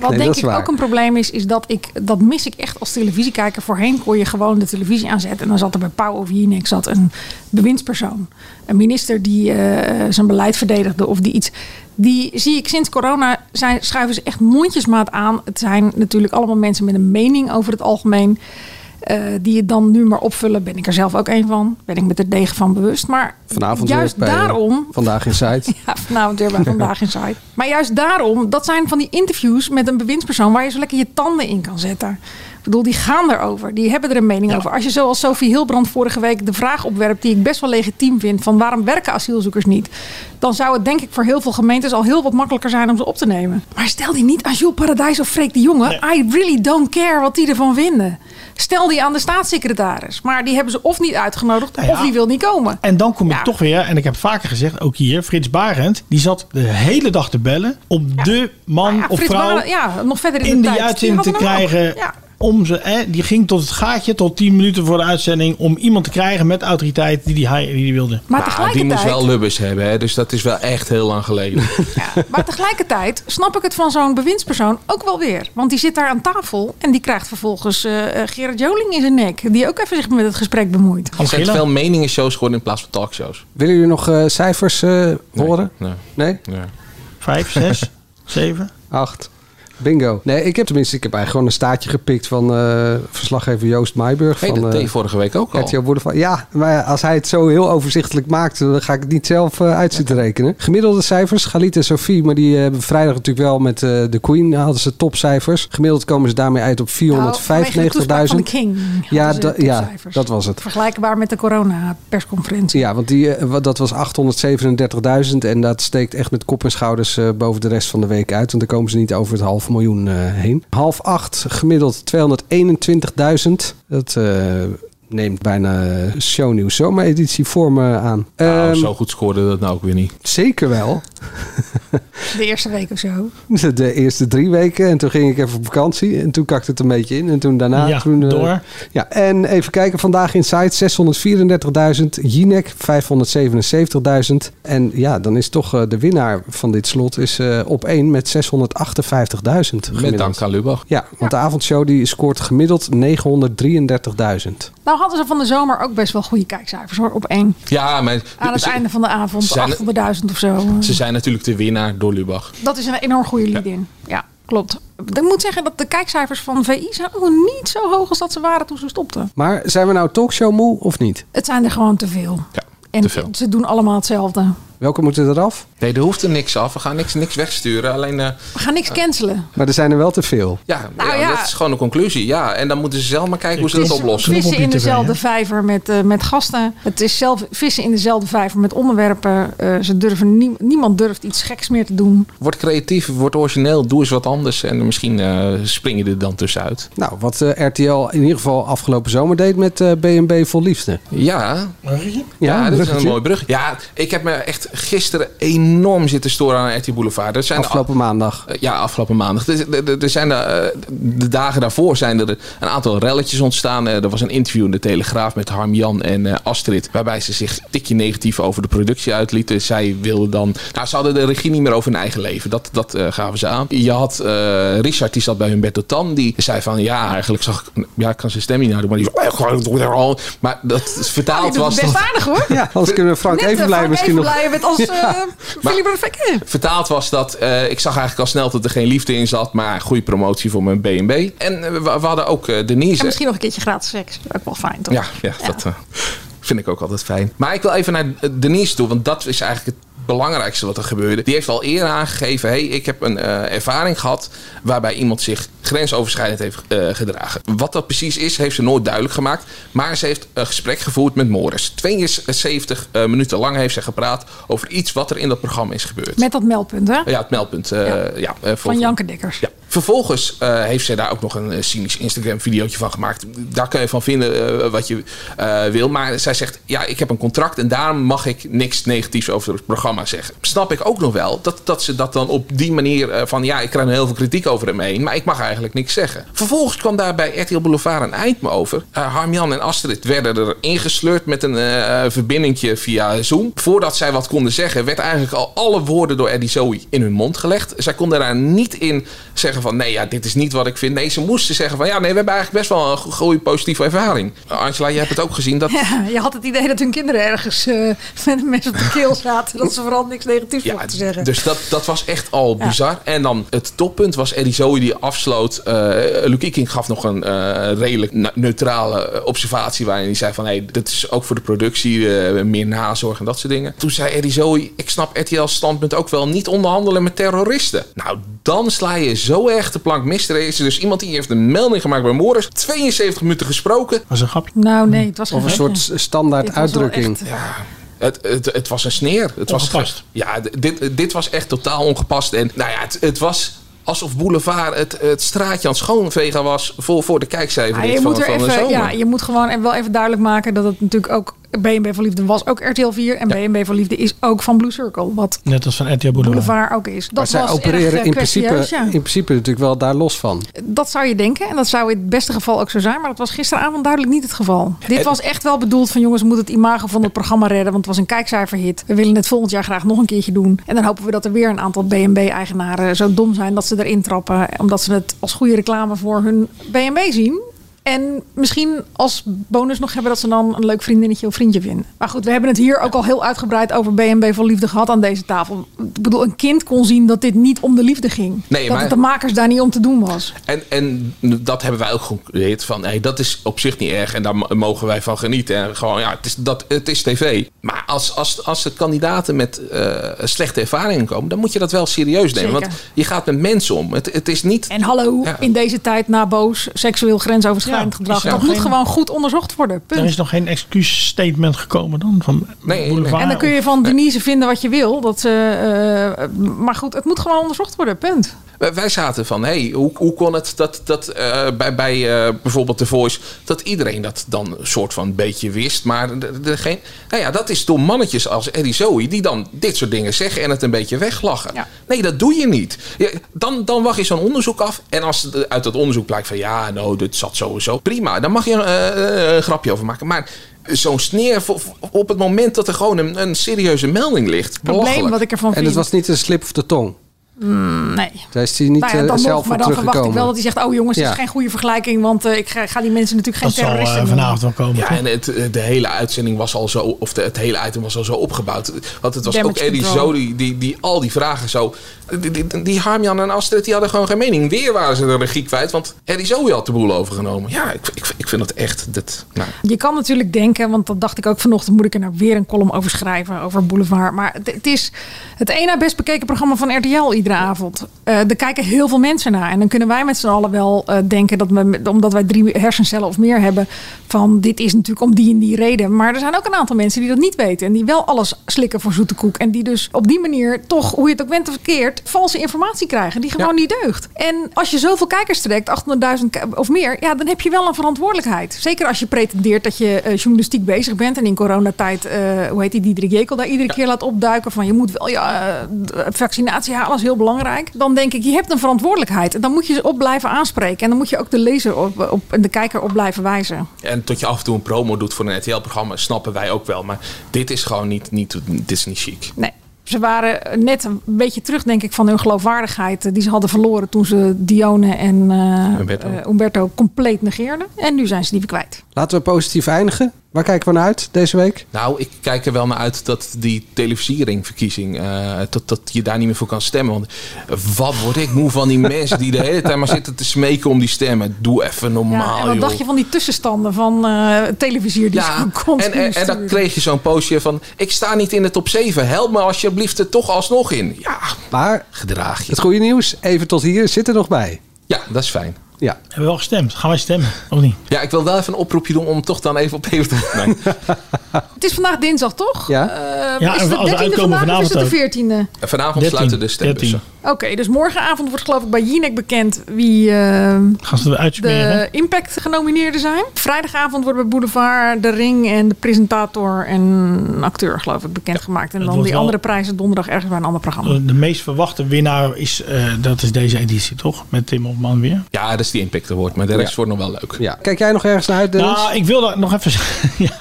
Speaker 10: Wat denk ik ook een probleem is, is dat ik dat mis ik echt als televisiekijker. Voorheen kon je gewoon de televisie aanzetten en dan zat er bij Pauw of Jinek zat een bewindspersoon, een minister die eh, zijn beleid verdedigde of die iets. Die zie ik sinds corona zijn, schuiven ze echt mondjesmaat aan. Het zijn natuurlijk allemaal mensen met een mening over het algemeen. eh, die het dan nu maar opvullen. Ben ik er zelf ook een van. Ben ik me er degen van bewust. Maar
Speaker 7: Vanavond
Speaker 10: juist
Speaker 7: weer bij eh,
Speaker 10: daarom
Speaker 7: Vandaag in Zuid.
Speaker 10: ja, vanavond weer bij Vandaag in Zuid. Maar juist daarom, dat zijn van die interviews met een bewindspersoon... waar je zo lekker je tanden in kan zetten. Ik bedoel, die gaan erover. Die hebben er een mening over. Als je zoals Sophie Hilbrand vorige week de vraag opwerpt... die ik best wel legitiem vind, van waarom werken asielzoekers niet... dan zou het denk ik voor heel veel gemeentes al heel wat makkelijker zijn om ze op te nemen. Maar stel die niet aan Jules Paradijs of Freek de Jonge. I really don't care wat die ervan vinden. Stel die aan de staatssecretaris. Maar die hebben ze of niet uitgenodigd,
Speaker 9: Nou ja.
Speaker 10: of die wil niet komen.
Speaker 9: En dan kom ik toch weer, en ik heb vaker gezegd, ook hier, Frits Barend, die zat de hele dag te bellen om de man of
Speaker 10: Nou Ah, Frits
Speaker 9: vrouw
Speaker 10: Barend, ja, nog verder in,
Speaker 9: in
Speaker 10: de tijd.
Speaker 9: die
Speaker 10: Die
Speaker 9: uitzending te
Speaker 10: hadden hem ook.
Speaker 9: krijgen. Om ze, hè, die ging tot het gaatje, tot 10 minuten voor de uitzending, om iemand te krijgen met autoriteit die die, hij- die, die wilde.
Speaker 10: Maar
Speaker 8: Ah, die moest
Speaker 10: tegelijkertijd-
Speaker 8: wel lubbers hebben, hè? dus dat is wel echt heel lang geleden.
Speaker 10: Maar tegelijkertijd snap ik het van zo'n bewindspersoon ook wel weer. Want die zit daar aan tafel en die krijgt vervolgens eh, eh, Gerard Joling in zijn nek. Die ook even zich met het gesprek bemoeit.
Speaker 8: Er zijn veel meningen-shows geworden in plaats van talkshows.
Speaker 7: Willen jullie nog eh, cijfers eh, horen?
Speaker 8: nee.
Speaker 7: Nee?
Speaker 9: Vijf, zes, zeven.
Speaker 7: Acht. Bingo. Nee, ik heb tenminste, ik heb eigenlijk gewoon een staartje gepikt van eh, verslaggever Joost Maaiburg.
Speaker 8: Hey,
Speaker 7: van,
Speaker 8: dat
Speaker 7: eh,
Speaker 8: deed je vorige week ook al.
Speaker 7: RTL Boulevard. Ja, maar als hij het zo heel overzichtelijk maakt, dan ga ik het niet zelf eh, uit zitten rekenen. Gemiddelde cijfers, Galit en Sophie, maar die eh, hebben vrijdag natuurlijk wel met eh, de Queen, hadden ze topcijfers. Gemiddeld komen ze daarmee uit op 495.000.
Speaker 10: Nou, vanwege de toespraak van de King hadden
Speaker 7: Ja,
Speaker 10: ze
Speaker 7: da- ja,
Speaker 10: topcijfers.
Speaker 7: dat was het.
Speaker 10: Vergelijkbaar met de corona-persconferentie.
Speaker 7: Ja, want die, eh, wat- dat was 837.000 en dat steekt echt met kop en schouders eh, boven de rest van de week uit. Want dan komen ze niet over het half miljoen eh, heen. Half acht gemiddeld 221.000. Dat eh, neemt bijna eh, shownieuws zomereditie voor me aan.
Speaker 8: Nou,
Speaker 9: Ah,
Speaker 7: Ehm,
Speaker 8: zo goed scoorde dat nou ook weer niet.
Speaker 7: Zeker wel.
Speaker 10: De eerste week of zo.
Speaker 7: De eerste drie weken. En toen ging ik even op vakantie. En toen kakte het een beetje in. En toen daarna.
Speaker 9: Ja,
Speaker 7: toen, eh,
Speaker 9: door.
Speaker 7: ja, en even kijken. Vandaag in site 634.000. Jinek 577.000. En ja, dan is toch eh, de winnaar van dit slot is eh, op één met 658.000.
Speaker 8: Met
Speaker 7: gemiddeld.
Speaker 8: dank aan Lubach.
Speaker 7: Ja, want de avondshow die scoort gemiddeld 933.000.
Speaker 10: Nou hadden ze van de zomer ook best wel goede kijkcijfers hoor, op één.
Speaker 8: Ja, maar dus-
Speaker 10: Aan het
Speaker 8: ze,
Speaker 10: einde van de avond,
Speaker 8: ze zijn-
Speaker 10: 800.000 of zo.
Speaker 8: ze zijn natuurlijk de winnaar door Lubach.
Speaker 10: Dat is een enorm goede lead-in. Ja. klopt. Ik moet zeggen dat de kijkcijfers van VI zijn ook niet zo hoog als dat ze waren toen ze stopten.
Speaker 7: Maar zijn we nou talkshow moe of niet?
Speaker 10: Het zijn er gewoon te veel. en
Speaker 8: te veel.
Speaker 10: ze doen allemaal hetzelfde.
Speaker 7: Welke moeten eraf?
Speaker 8: Nee, er hoeft er niks af. We gaan niks, niks wegsturen. Alleen, eh,
Speaker 10: We gaan niks cancelen.
Speaker 7: Maar er zijn er wel te veel.
Speaker 8: ja,
Speaker 10: Nou
Speaker 8: ja,
Speaker 10: ja.
Speaker 8: dat is gewoon een conclusie. Ja, en dan moeten ze zelf maar kijken hoe ze
Speaker 10: Het
Speaker 8: dat
Speaker 10: is
Speaker 8: oplossen.
Speaker 10: Vissen in dezelfde vijver met, eh, met gasten. Het is zelf vissen in dezelfde vijver met onderwerpen. Eh, ze durven nie- niemand durft iets geks meer te doen.
Speaker 8: Word creatief, word origineel, doe eens wat anders. En misschien eh, spring je er dan tussenuit.
Speaker 7: Nou, wat eh, RTL in ieder geval afgelopen zomer deed met eh, B&B Vol Liefde.
Speaker 8: Ja.
Speaker 9: Ja,
Speaker 8: Ja, dat is een
Speaker 7: bruggetje.
Speaker 8: mooi brug. Ja, ik heb me echt gisteren enorm zitten storen aan RT Boulevard. Er zijn
Speaker 7: Afgelopen maandag.
Speaker 8: Eh, Ja, afgelopen maandag. Er- er- er- er zijn er, eh, de dagen daarvoor zijn er een aantal relletjes ontstaan. Eh, Er was een interview in de Telegraaf met Harm Jan en eh, Astrid. Waarbij ze zich een tikje negatief over de productie uitlieten. Zij wilden dan. Nou, ze hadden de regie niet meer over hun eigen leven. Dat, dat eh, gaven ze aan. Je had eh, Richard, die zat bij Humberto Tan. Die zei van ja, eigenlijk zag ik. Ja, ik kan zijn stem niet nadoen. Maar die Maar dat
Speaker 10: Die
Speaker 8: vertaald
Speaker 10: doen
Speaker 8: was.
Speaker 10: het best
Speaker 8: tot-
Speaker 10: aardig hoor.
Speaker 7: Ja, anders kunnen we Frank
Speaker 10: Net, eh,
Speaker 7: Evenblij
Speaker 10: Frank
Speaker 7: misschien nog...
Speaker 10: Evenblij net als eh Philip Vervekke.
Speaker 8: Vertaald was dat, eh, ik zag eigenlijk al snel dat er geen liefde in zat, maar goede promotie voor mijn B&B. En eh, we, we hadden ook eh, Denise.
Speaker 10: En misschien nog een keertje gratis seks. Ook wel fijn, toch?
Speaker 8: Ja, ja, dat eh, vind ik ook altijd fijn. Maar ik wil even naar eh, Denise toe, want dat is eigenlijk het belangrijkste wat er gebeurde. Die heeft al eerder aangegeven, hey, ik heb een eh, ervaring gehad waarbij iemand zich grensoverschrijdend heeft eh, gedragen. Wat dat precies is, heeft ze nooit duidelijk gemaakt. Maar ze heeft een gesprek gevoerd met Morris. 72 eh, minuten lang heeft ze gepraat over iets wat er in dat programma is gebeurd.
Speaker 10: Met dat meldpunt, hè?
Speaker 8: Ja, het meldpunt. eh, ja. eh,
Speaker 10: Van
Speaker 8: volgens-
Speaker 10: Janke Dekkers.
Speaker 8: ja. Vervolgens eh, heeft zij daar ook nog een eh, cynisch Instagram-videootje van gemaakt. Daar kun je van vinden eh, wat je eh, wil. Maar zij zegt, ja, ik heb een contract en daarom mag ik niks negatiefs over het programma zeggen. Snap ik ook nog wel dat, dat ze dat dan op die manier eh, van... ja, ik krijg nu heel veel kritiek over hem heen, maar ik mag eigenlijk niks zeggen. Vervolgens kwam daar bij RTL Boulevard een eind me over. Eh Harmjan en Astrid werden er ingesleurd met een eh verbindingje via Zoom. Voordat zij wat konden zeggen, werd eigenlijk al alle woorden door Eddie Zoe in hun mond gelegd. Zij konden daar niet in zeggen van nee, ja, dit is niet wat ik vind. Nee, ze moesten zeggen van ja, nee, we hebben eigenlijk best wel een go- goede positieve ervaring. Eh, Angela, jij hebt het ook gezien. Dat,
Speaker 10: Ja, je had het idee dat hun kinderen ergens eh, met een mes op de keel zaten. Dat ze vooral niks negatiefs mochten zeggen.
Speaker 8: Dus dat, dat was echt al bizar. En dan het toppunt was Eddie Zoe die afsloot. Eh Luc Iking gaf nog een eh, redelijk ne- neutrale eh, observatie waarin hij zei van... hé, hey, dat is ook voor de productie, eh, meer nazorg en dat soort dingen. Toen zei Eddie Zoe, ik snap RTL's standpunt ook wel niet onderhandelen met terroristen. Nou, dan sla je zo erg de plank mis. Er is dus iemand die heeft een melding gemaakt bij Morris. 72 minuten gesproken.
Speaker 9: Was een grapje.
Speaker 10: Nou nee, het was
Speaker 7: Of een soort s- standaard
Speaker 10: Dit was wel
Speaker 7: uitdrukking.
Speaker 10: echt,
Speaker 8: Ja. Het, het, het was een sneer. Het Was,
Speaker 9: Ongepast.
Speaker 8: ja, d- dit, dit was echt totaal ongepast. En nou ja, het, het was alsof Boulevard het, het straatje aan het schoonvegen was voor, voor de kijkcijfer
Speaker 10: Maar je
Speaker 8: van,
Speaker 10: moet er
Speaker 8: van de
Speaker 10: even,
Speaker 8: zomer.
Speaker 10: ja, je moet gewoon en wel even duidelijk maken dat het natuurlijk ook BNB voor Liefde was ook RTL 4 en BNB voor Liefde is ook van Blue Circle, wat
Speaker 9: Net als van RTL Boulevard.
Speaker 10: Boulevard ook is. Dat
Speaker 7: Maar zij
Speaker 10: was
Speaker 7: opereren
Speaker 10: erg, eh,
Speaker 7: in, principe,
Speaker 10: kwestieus, ja.
Speaker 7: in principe natuurlijk wel daar los van.
Speaker 10: Dat zou je denken en dat zou in het beste geval ook zo zijn, maar dat was gisteravond duidelijk niet het geval. Dit
Speaker 7: En-
Speaker 10: was echt wel bedoeld van jongens, we moeten het imago van het programma redden, want het was een kijkcijferhit. We willen het volgend jaar graag nog een keertje doen en dan hopen we dat er weer een aantal BNB-eigenaren zo dom zijn dat ze erin trappen, omdat ze het als goede reclame voor hun BNB zien. En misschien als bonus nog hebben dat ze dan een leuk vriendinnetje of vriendje vinden. Maar goed, we hebben het hier ook al heel uitgebreid over BNB voor Liefde gehad aan deze tafel. Ik bedoel, een kind kon zien dat dit niet om de liefde ging.
Speaker 8: Nee,
Speaker 10: dat
Speaker 8: maar-
Speaker 10: het de makers daar niet om te doen was.
Speaker 8: En, en dat hebben wij ook geconcludeerd van hey, dat is op zich niet erg en daar m- mogen wij van genieten. En gewoon, ja, het is, dat, het is tv. Maar als, als, als er kandidaten met eh, slechte ervaringen komen, dan moet je dat wel serieus nemen.
Speaker 10: Zeker.
Speaker 8: Want je gaat met mensen om. Het, het is niet.
Speaker 10: En hallo, in deze tijd na boos, seksueel grensoverschrijdend gedrag.
Speaker 9: is er
Speaker 10: Dat
Speaker 9: nog
Speaker 10: moet
Speaker 9: geen-
Speaker 10: gewoon goed onderzocht worden.
Speaker 9: Er
Speaker 10: Punt.
Speaker 9: is nog geen excuusstatement gekomen dan van Boulevard.
Speaker 10: En dan kun je van Denise vinden wat je wil. Dat, ze, eh, maar goed, het moet gewoon onderzocht worden. Punt.
Speaker 8: Wij- Wij zaten van, hey, hoe, hoe kon het dat, dat eh, bij, bij eh, bijvoorbeeld The Voice... dat iedereen dat dan een soort van beetje wist. Maar de, de- geen, nou ja, dat is door mannetjes als Eddie Zoe... die dan dit soort dingen zeggen en het een beetje weglachen. Nee, dat doe je niet. Je- dan, dan wacht je zo'n onderzoek af. En als het uit dat onderzoek blijkt van... ja, nou, dit zat sowieso prima. Dan mag je eh, een grapje over maken. Maar zo'n sneer voor- voor- op het moment dat er gewoon een, een serieuze melding ligt... belachelijk.
Speaker 10: wat ik ervan
Speaker 7: En het
Speaker 10: vind.
Speaker 7: was niet een slip of de tong.
Speaker 10: nee.
Speaker 7: Daar is hij niet
Speaker 10: Nou ja,
Speaker 7: eh,
Speaker 10: dan nog,
Speaker 7: zelf
Speaker 10: maar
Speaker 7: op
Speaker 10: dan verwacht ik
Speaker 7: teruggekomen.
Speaker 10: wel dat hij zegt: Oh jongens,
Speaker 7: Ja.
Speaker 10: dit is geen goede vergelijking, want eh, ik ga, ga die mensen natuurlijk geen
Speaker 9: Dat zal, eh,
Speaker 10: terroristen. noemen.
Speaker 9: vanavond wel komen.
Speaker 8: Ja,
Speaker 9: toch?
Speaker 8: en het, eh, de hele uitzending was al zo, of de, het hele item was al zo opgebouwd. Want het was
Speaker 10: Damage
Speaker 8: ook Eddie
Speaker 10: control.
Speaker 8: Zo die, die, die al die vragen zo. Die, die, die Harmjan en Astrid die hadden gewoon geen mening. Weer waren ze de regie kwijt, want Eddie Zoe had de boel overgenomen. Ja, ik, ik, ik vind dat echt. Dat, nou.
Speaker 10: Je kan natuurlijk denken, want dat dacht ik ook vanochtend, moet ik er nou weer een column over schrijven, over Boulevard. Maar het, het is het ene best bekeken programma van RTL iedere avond. Eh er kijken heel veel mensen naar. En dan kunnen wij met z'n allen wel eh, denken, dat we, met- omdat wij drie hersencellen of meer hebben, van dit is natuurlijk om die en die reden. Maar er zijn ook een aantal mensen die dat niet weten en die wel alles slikken voor zoete koek. En die dus op die manier toch, hoe je het ook bent of verkeerd, valse informatie krijgen die gewoon niet deugt. En als je zoveel kijkers trekt, 800.000 ki- of meer, ja, dan heb je wel een verantwoordelijkheid. Zeker als je pretendeert dat je eh, journalistiek bezig bent en in coronatijd, eh, hoe heet die, Diederik Jekel daar iedere keer laat opduiken van je moet wel ja, eh, d- vaccinatie halen, is heel belangrijk. Dan denk ik, je hebt een verantwoordelijkheid en dan moet je ze op blijven aanspreken. En dan moet je ook de lezer op, op, en de kijker op blijven wijzen.
Speaker 8: En tot je af en toe een promo doet voor een RTL-programma, snappen wij ook wel. Maar dit is gewoon niet, niet, dit is niet chic.
Speaker 10: Nee. Ze waren net een beetje terug, denk ik, van hun geloofwaardigheid eh, die ze hadden verloren toen ze Dione en eh,
Speaker 7: Umberto.
Speaker 10: eh, Umberto compleet negeerden. En nu zijn ze die weer kwijt.
Speaker 7: Laten we positief eindigen. Waar kijken we naar uit deze week?
Speaker 8: Nou, ik kijk er wel naar uit dat die televisieringenverkiezing, eh, dat, dat je daar niet meer voor kan stemmen. Want eh, wat word ik moe van die mensen die de hele tijd maar zitten te smeken om die stemmen. Doe even normaal,
Speaker 10: en wat
Speaker 8: joh.
Speaker 10: dacht je van die tussenstanden van eh televisier die
Speaker 8: Ja,
Speaker 10: ze continu
Speaker 8: en, en, en dan
Speaker 10: sturen?
Speaker 8: kreeg je zo'n postje van, ik sta niet in de top 7, help me alsjeblieft er toch alsnog in. Ja,
Speaker 7: maar
Speaker 8: gedraag je.
Speaker 7: Het goede nieuws, even tot hier, zit er nog bij.
Speaker 8: Ja, dat is fijn.
Speaker 7: Ja.
Speaker 9: Hebben we wel gestemd? Gaan wij stemmen? Of niet?
Speaker 8: Ja, ik wil wel even een oproepje doen om toch dan even op even te... Nee.
Speaker 10: Het is vandaag dinsdag, toch?
Speaker 8: Ja.
Speaker 10: Eh,
Speaker 8: Ja,
Speaker 10: is
Speaker 8: en
Speaker 10: het de
Speaker 8: als we
Speaker 10: 13e
Speaker 8: uitkomen
Speaker 10: vandaag of is het de 14e?
Speaker 8: Vanavond
Speaker 9: 13,
Speaker 8: sluiten de stembussen.
Speaker 10: Oké, dus morgenavond wordt geloof ik bij Jinek bekend wie eh,
Speaker 9: Gaan ze er
Speaker 10: de
Speaker 9: uitsmeren?
Speaker 10: Impact genomineerden zijn. Vrijdagavond wordt bij Boulevard de Ring en de presentator en acteur geloof ik bekendgemaakt. En
Speaker 9: het
Speaker 10: dan
Speaker 9: wordt
Speaker 10: die
Speaker 9: wel- Eh.
Speaker 10: andere prijzen donderdag ergens bij een ander programma.
Speaker 9: De meest verwachte winnaar is, eh, dat is deze editie toch? Met Tim Hofman weer.
Speaker 8: Ja, dat is die impact award, maar de rest
Speaker 9: Ja.
Speaker 8: wordt nog wel leuk.
Speaker 7: Ja. Kijk jij nog ergens naar uit, Dennis?
Speaker 9: Nou, ik wil daar nog even zeggen. ja,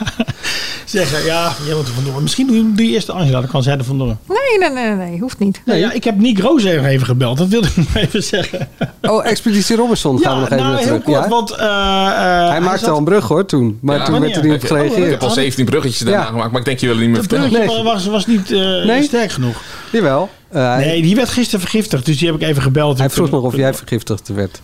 Speaker 9: zeggen. Ja, jij moet er vandoor. Misschien doe doe je eerst de Angela, dan kan zij er vandoor.
Speaker 10: Nee, nee, nee, nee, hoeft niet.
Speaker 9: Nee, ja, ik heb Nick Roos er even gebeld. Dat wilde ik nog even zeggen.
Speaker 7: Oh, Expeditie Robinson gaan we nog even
Speaker 9: nou,
Speaker 7: naar
Speaker 9: heel
Speaker 7: terug.
Speaker 9: kort,
Speaker 7: Ja?
Speaker 9: want... eh, eh,
Speaker 7: hij maakte
Speaker 9: zat-
Speaker 7: al een brug hoor toen, maar
Speaker 8: Ja,
Speaker 7: toen werd er niet op
Speaker 9: oh,
Speaker 7: gereageerd.
Speaker 8: Ik heb al 17 bruggetjes daarna
Speaker 7: Ja.
Speaker 8: gemaakt, maar ik denk je willen niet meer
Speaker 9: Het bruggetje
Speaker 8: vertellen.
Speaker 9: wa- was, was niet eh,
Speaker 7: Nee?
Speaker 9: sterk genoeg.
Speaker 7: Jawel.
Speaker 9: nee, die werd gisteren vergiftigd, dus die heb ik even gebeld.
Speaker 7: Hij vroeg nog of jij vergiftigd werd.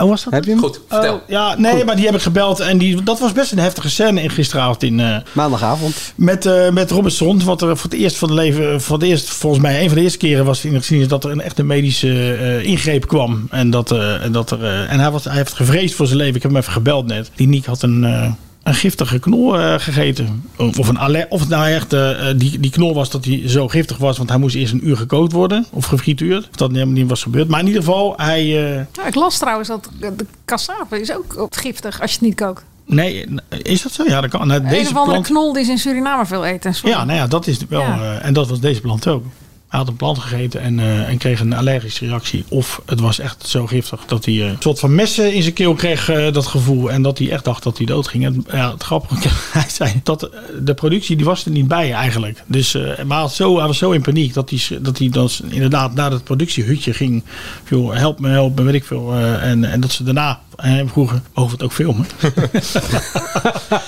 Speaker 9: Oh, was dat?
Speaker 7: Heb je hem?
Speaker 8: Goed, vertel.
Speaker 9: Oh, ja, nee, maar die heb ik gebeld. En die, dat was best een heftige scène in gisteravond. In, eh,
Speaker 7: Maandagavond.
Speaker 9: Met, eh met Robinson. Wat er voor het eerst van de leven. Voor het eerst, volgens mij, een van de eerste keren was in de geschiedenis dat er een echte medische eh, ingreep kwam. En, dat, eh, en, dat er, eh, en hij, was, hij heeft gevreesd voor zijn leven. Ik heb hem even gebeld net. Die Niek had een. eh, een giftige knol eh, gegeten. Of, of, een aller, of het nou echt eh, eh, die, die knol was dat hij zo giftig was. Want hij moest eerst een uur gekookt worden. Of gefrituurd. Of dat helemaal niet was gebeurd. Maar in ieder geval, hij, eh,
Speaker 10: Ja, Nou, ik las trouwens dat eh, de cassave is ook giftig als je het niet kookt.
Speaker 9: Nee, is dat zo? Ja, dat kan. Nou,
Speaker 10: een
Speaker 9: deze
Speaker 10: of andere
Speaker 9: plant,
Speaker 10: knol die is in Suriname veel eten. sorry.
Speaker 9: ja, nou ja, dat is wel.
Speaker 10: Ja.
Speaker 9: eh, en dat was deze plant ook. Hij had een plant gegeten en, eh, en kreeg een allergische reactie. Of het was echt zo giftig dat hij eh, een soort van messen in zijn keel kreeg, eh, dat gevoel. En dat hij echt dacht dat hij doodging. En, ja, het grappige, hij zei dat eh, de productie, die was er niet bij eigenlijk. Dus, eh, maar hij, had zo, hij was zo in paniek dat hij, s- dat hij dan s- inderdaad naar het productiehutje ging. Joh, help me, help me, weet ik veel. eh, en, en dat ze daarna aan hem vroegen, mogen we het ook filmen?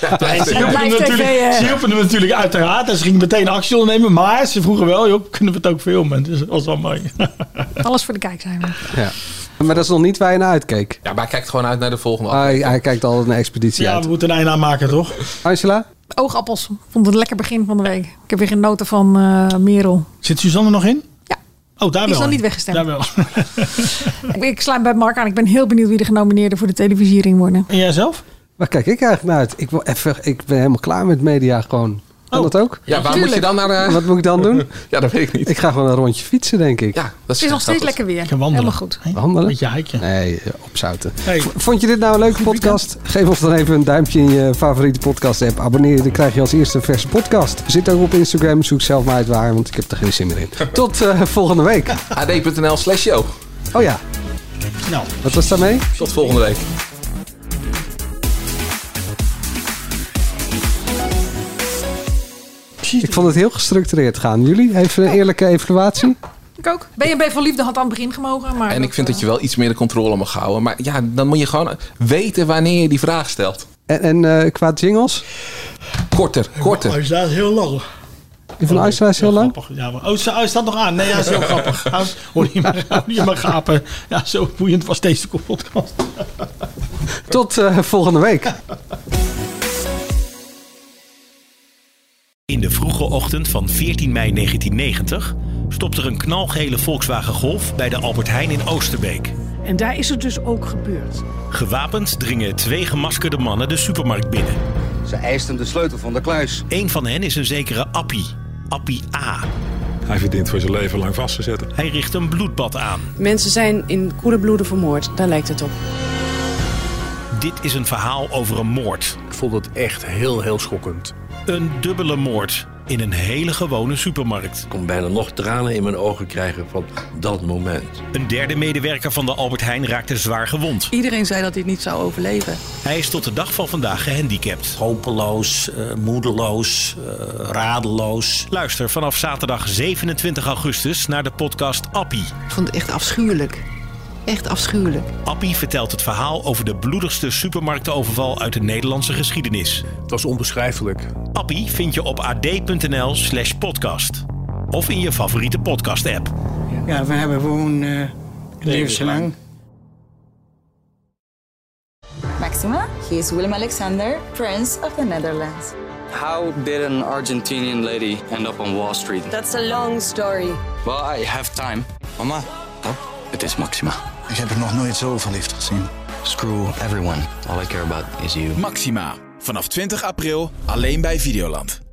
Speaker 8: Ja,
Speaker 9: ze
Speaker 8: ja.
Speaker 9: hielpen hem
Speaker 8: Blijft
Speaker 9: natuurlijk-
Speaker 8: TV, eh.
Speaker 9: ze hielpen hem natuurlijk uiteraard. En ze gingen meteen actie ondernemen. Maar ze vroegen wel, joh, kunnen we het ook filmen? Dus dat was wel mooi.
Speaker 10: Alles voor de kijkzijde.
Speaker 7: Ja. Maar dat is nog niet waar je naar uitkeek.
Speaker 8: Ja, maar hij kijkt gewoon uit naar de volgende
Speaker 7: Hij, hij kijkt altijd naar Expeditie
Speaker 9: Ja,
Speaker 7: uit.
Speaker 9: we moeten een einde aan maken, toch?
Speaker 7: Angela?
Speaker 10: Oogappels. Vond het een lekker begin van de week. Ik heb weer genoten van eh, Merel.
Speaker 9: Zit Suzanne nog in? Ja. Oh, daar
Speaker 10: Die
Speaker 9: wel.
Speaker 10: is nog
Speaker 9: in.
Speaker 10: niet weggestemd.
Speaker 9: Daar wel.
Speaker 10: Ik- Ik sluit bij Mark aan. Ik ben heel benieuwd wie de genomineerden voor de televisiering worden.
Speaker 9: En jij zelf?
Speaker 7: Waar kijk ik eigenlijk naar uit? Ik, wil even, ik ben helemaal klaar met media gewoon. Kan dat ook?
Speaker 8: Ja, waar moet je dan naar... eh,
Speaker 7: Wat moet ik dan doen?
Speaker 8: Ja, dat weet ik niet.
Speaker 7: Ik ga gewoon een rondje fietsen, denk ik.
Speaker 8: Ja,
Speaker 10: Het is nog steeds lekker weer. Helemaal goed.
Speaker 7: Wandelen?
Speaker 9: Met je hikje.
Speaker 7: Nee, eh, opzouten.
Speaker 9: Hey.
Speaker 7: V- Vond je dit nou een leuke podcast? Geef ons dan even een duimpje in je favoriete podcast app. Abonneer je, dan krijg je als eerste een verse podcast. Zit ook op Instagram, zoek zelf maar uit waar, want ik heb er geen zin meer in. Tot eh, volgende week.
Speaker 8: ad.nl slash show.
Speaker 7: Oh ja,
Speaker 9: Nou,
Speaker 7: wat was daarmee?
Speaker 8: tot volgende week.
Speaker 7: Ik vond het heel gestructureerd gaan. Jullie, even een eerlijke evaluatie?
Speaker 10: Ik ook. BNB voor Liefde had aan het begin gemogen. Maar eh,
Speaker 8: En ik vind dat je wel iets meer de controle mag houden. Maar ja, dan moet je gewoon weten wanneer je die vraag stelt.
Speaker 7: En, en eh, qua jingles?
Speaker 8: Korter, korter.
Speaker 9: Hij staat oh, heel lang.
Speaker 7: Die van Luisteraar is heel lang?
Speaker 9: Ja, maar, oh, ze- oh, hij staat nog aan. Nee, ja, is heel grappig. Hou- Hoor je maar, hoor je maar gapen. Ja, zo boeiend was deze podcast.
Speaker 7: Tot eh, volgende week.
Speaker 18: In de vroege ochtend van 14 mei 1990 stopt er een knalgele Volkswagen Golf bij de Albert Heijn in Oosterbeek.
Speaker 19: En daar is het dus ook gebeurd.
Speaker 18: Gewapend dringen twee gemaskerde mannen de supermarkt binnen. Ze eisten de sleutel van de kluis. Een van hen is een zekere Appie. Appie A.
Speaker 20: Hij verdient voor zijn leven lang vast te zetten.
Speaker 18: Hij richt een bloedbad aan.
Speaker 19: Mensen zijn in koele bloeden vermoord, daar lijkt het op.
Speaker 18: Dit is een verhaal over een moord. Ik vond het echt heel, heel schokkend. Een dubbele moord in een hele gewone supermarkt.
Speaker 21: Ik kon bijna nog tranen in mijn ogen krijgen van dat moment.
Speaker 18: Een derde medewerker van de Albert Heijn raakte zwaar gewond.
Speaker 19: Iedereen zei dat hij het niet zou overleven.
Speaker 18: Hij is tot de dag van vandaag gehandicapt. Hopeloos, eh, moedeloos, eh, radeloos. Luister vanaf zaterdag 27 augustus naar de podcast Appie.
Speaker 19: Ik vond het echt afschuwelijk.
Speaker 10: Echt afschuwelijk.
Speaker 9: Appie vertelt het verhaal over de bloedigste supermarktoverval uit de Nederlandse geschiedenis. Het was onbeschrijfelijk. Appie vind je op ad.nl slash podcast. Of in je favoriete podcast-app.
Speaker 22: Ja, we hebben gewoon eh levenslang.
Speaker 1: Maxima, he is Willem Alexander, Prince of the Netherlands.
Speaker 2: How did an Argentinian lady end up on Wall Street?
Speaker 23: That's a long story.
Speaker 2: Well, I have time. Mama, pap, het is Maxima.
Speaker 11: Ik heb er nog nooit zo verliefd gezien.
Speaker 2: Screw everyone. All I care about is you.
Speaker 8: Maxima. Vanaf 20 april alleen bij Videoland.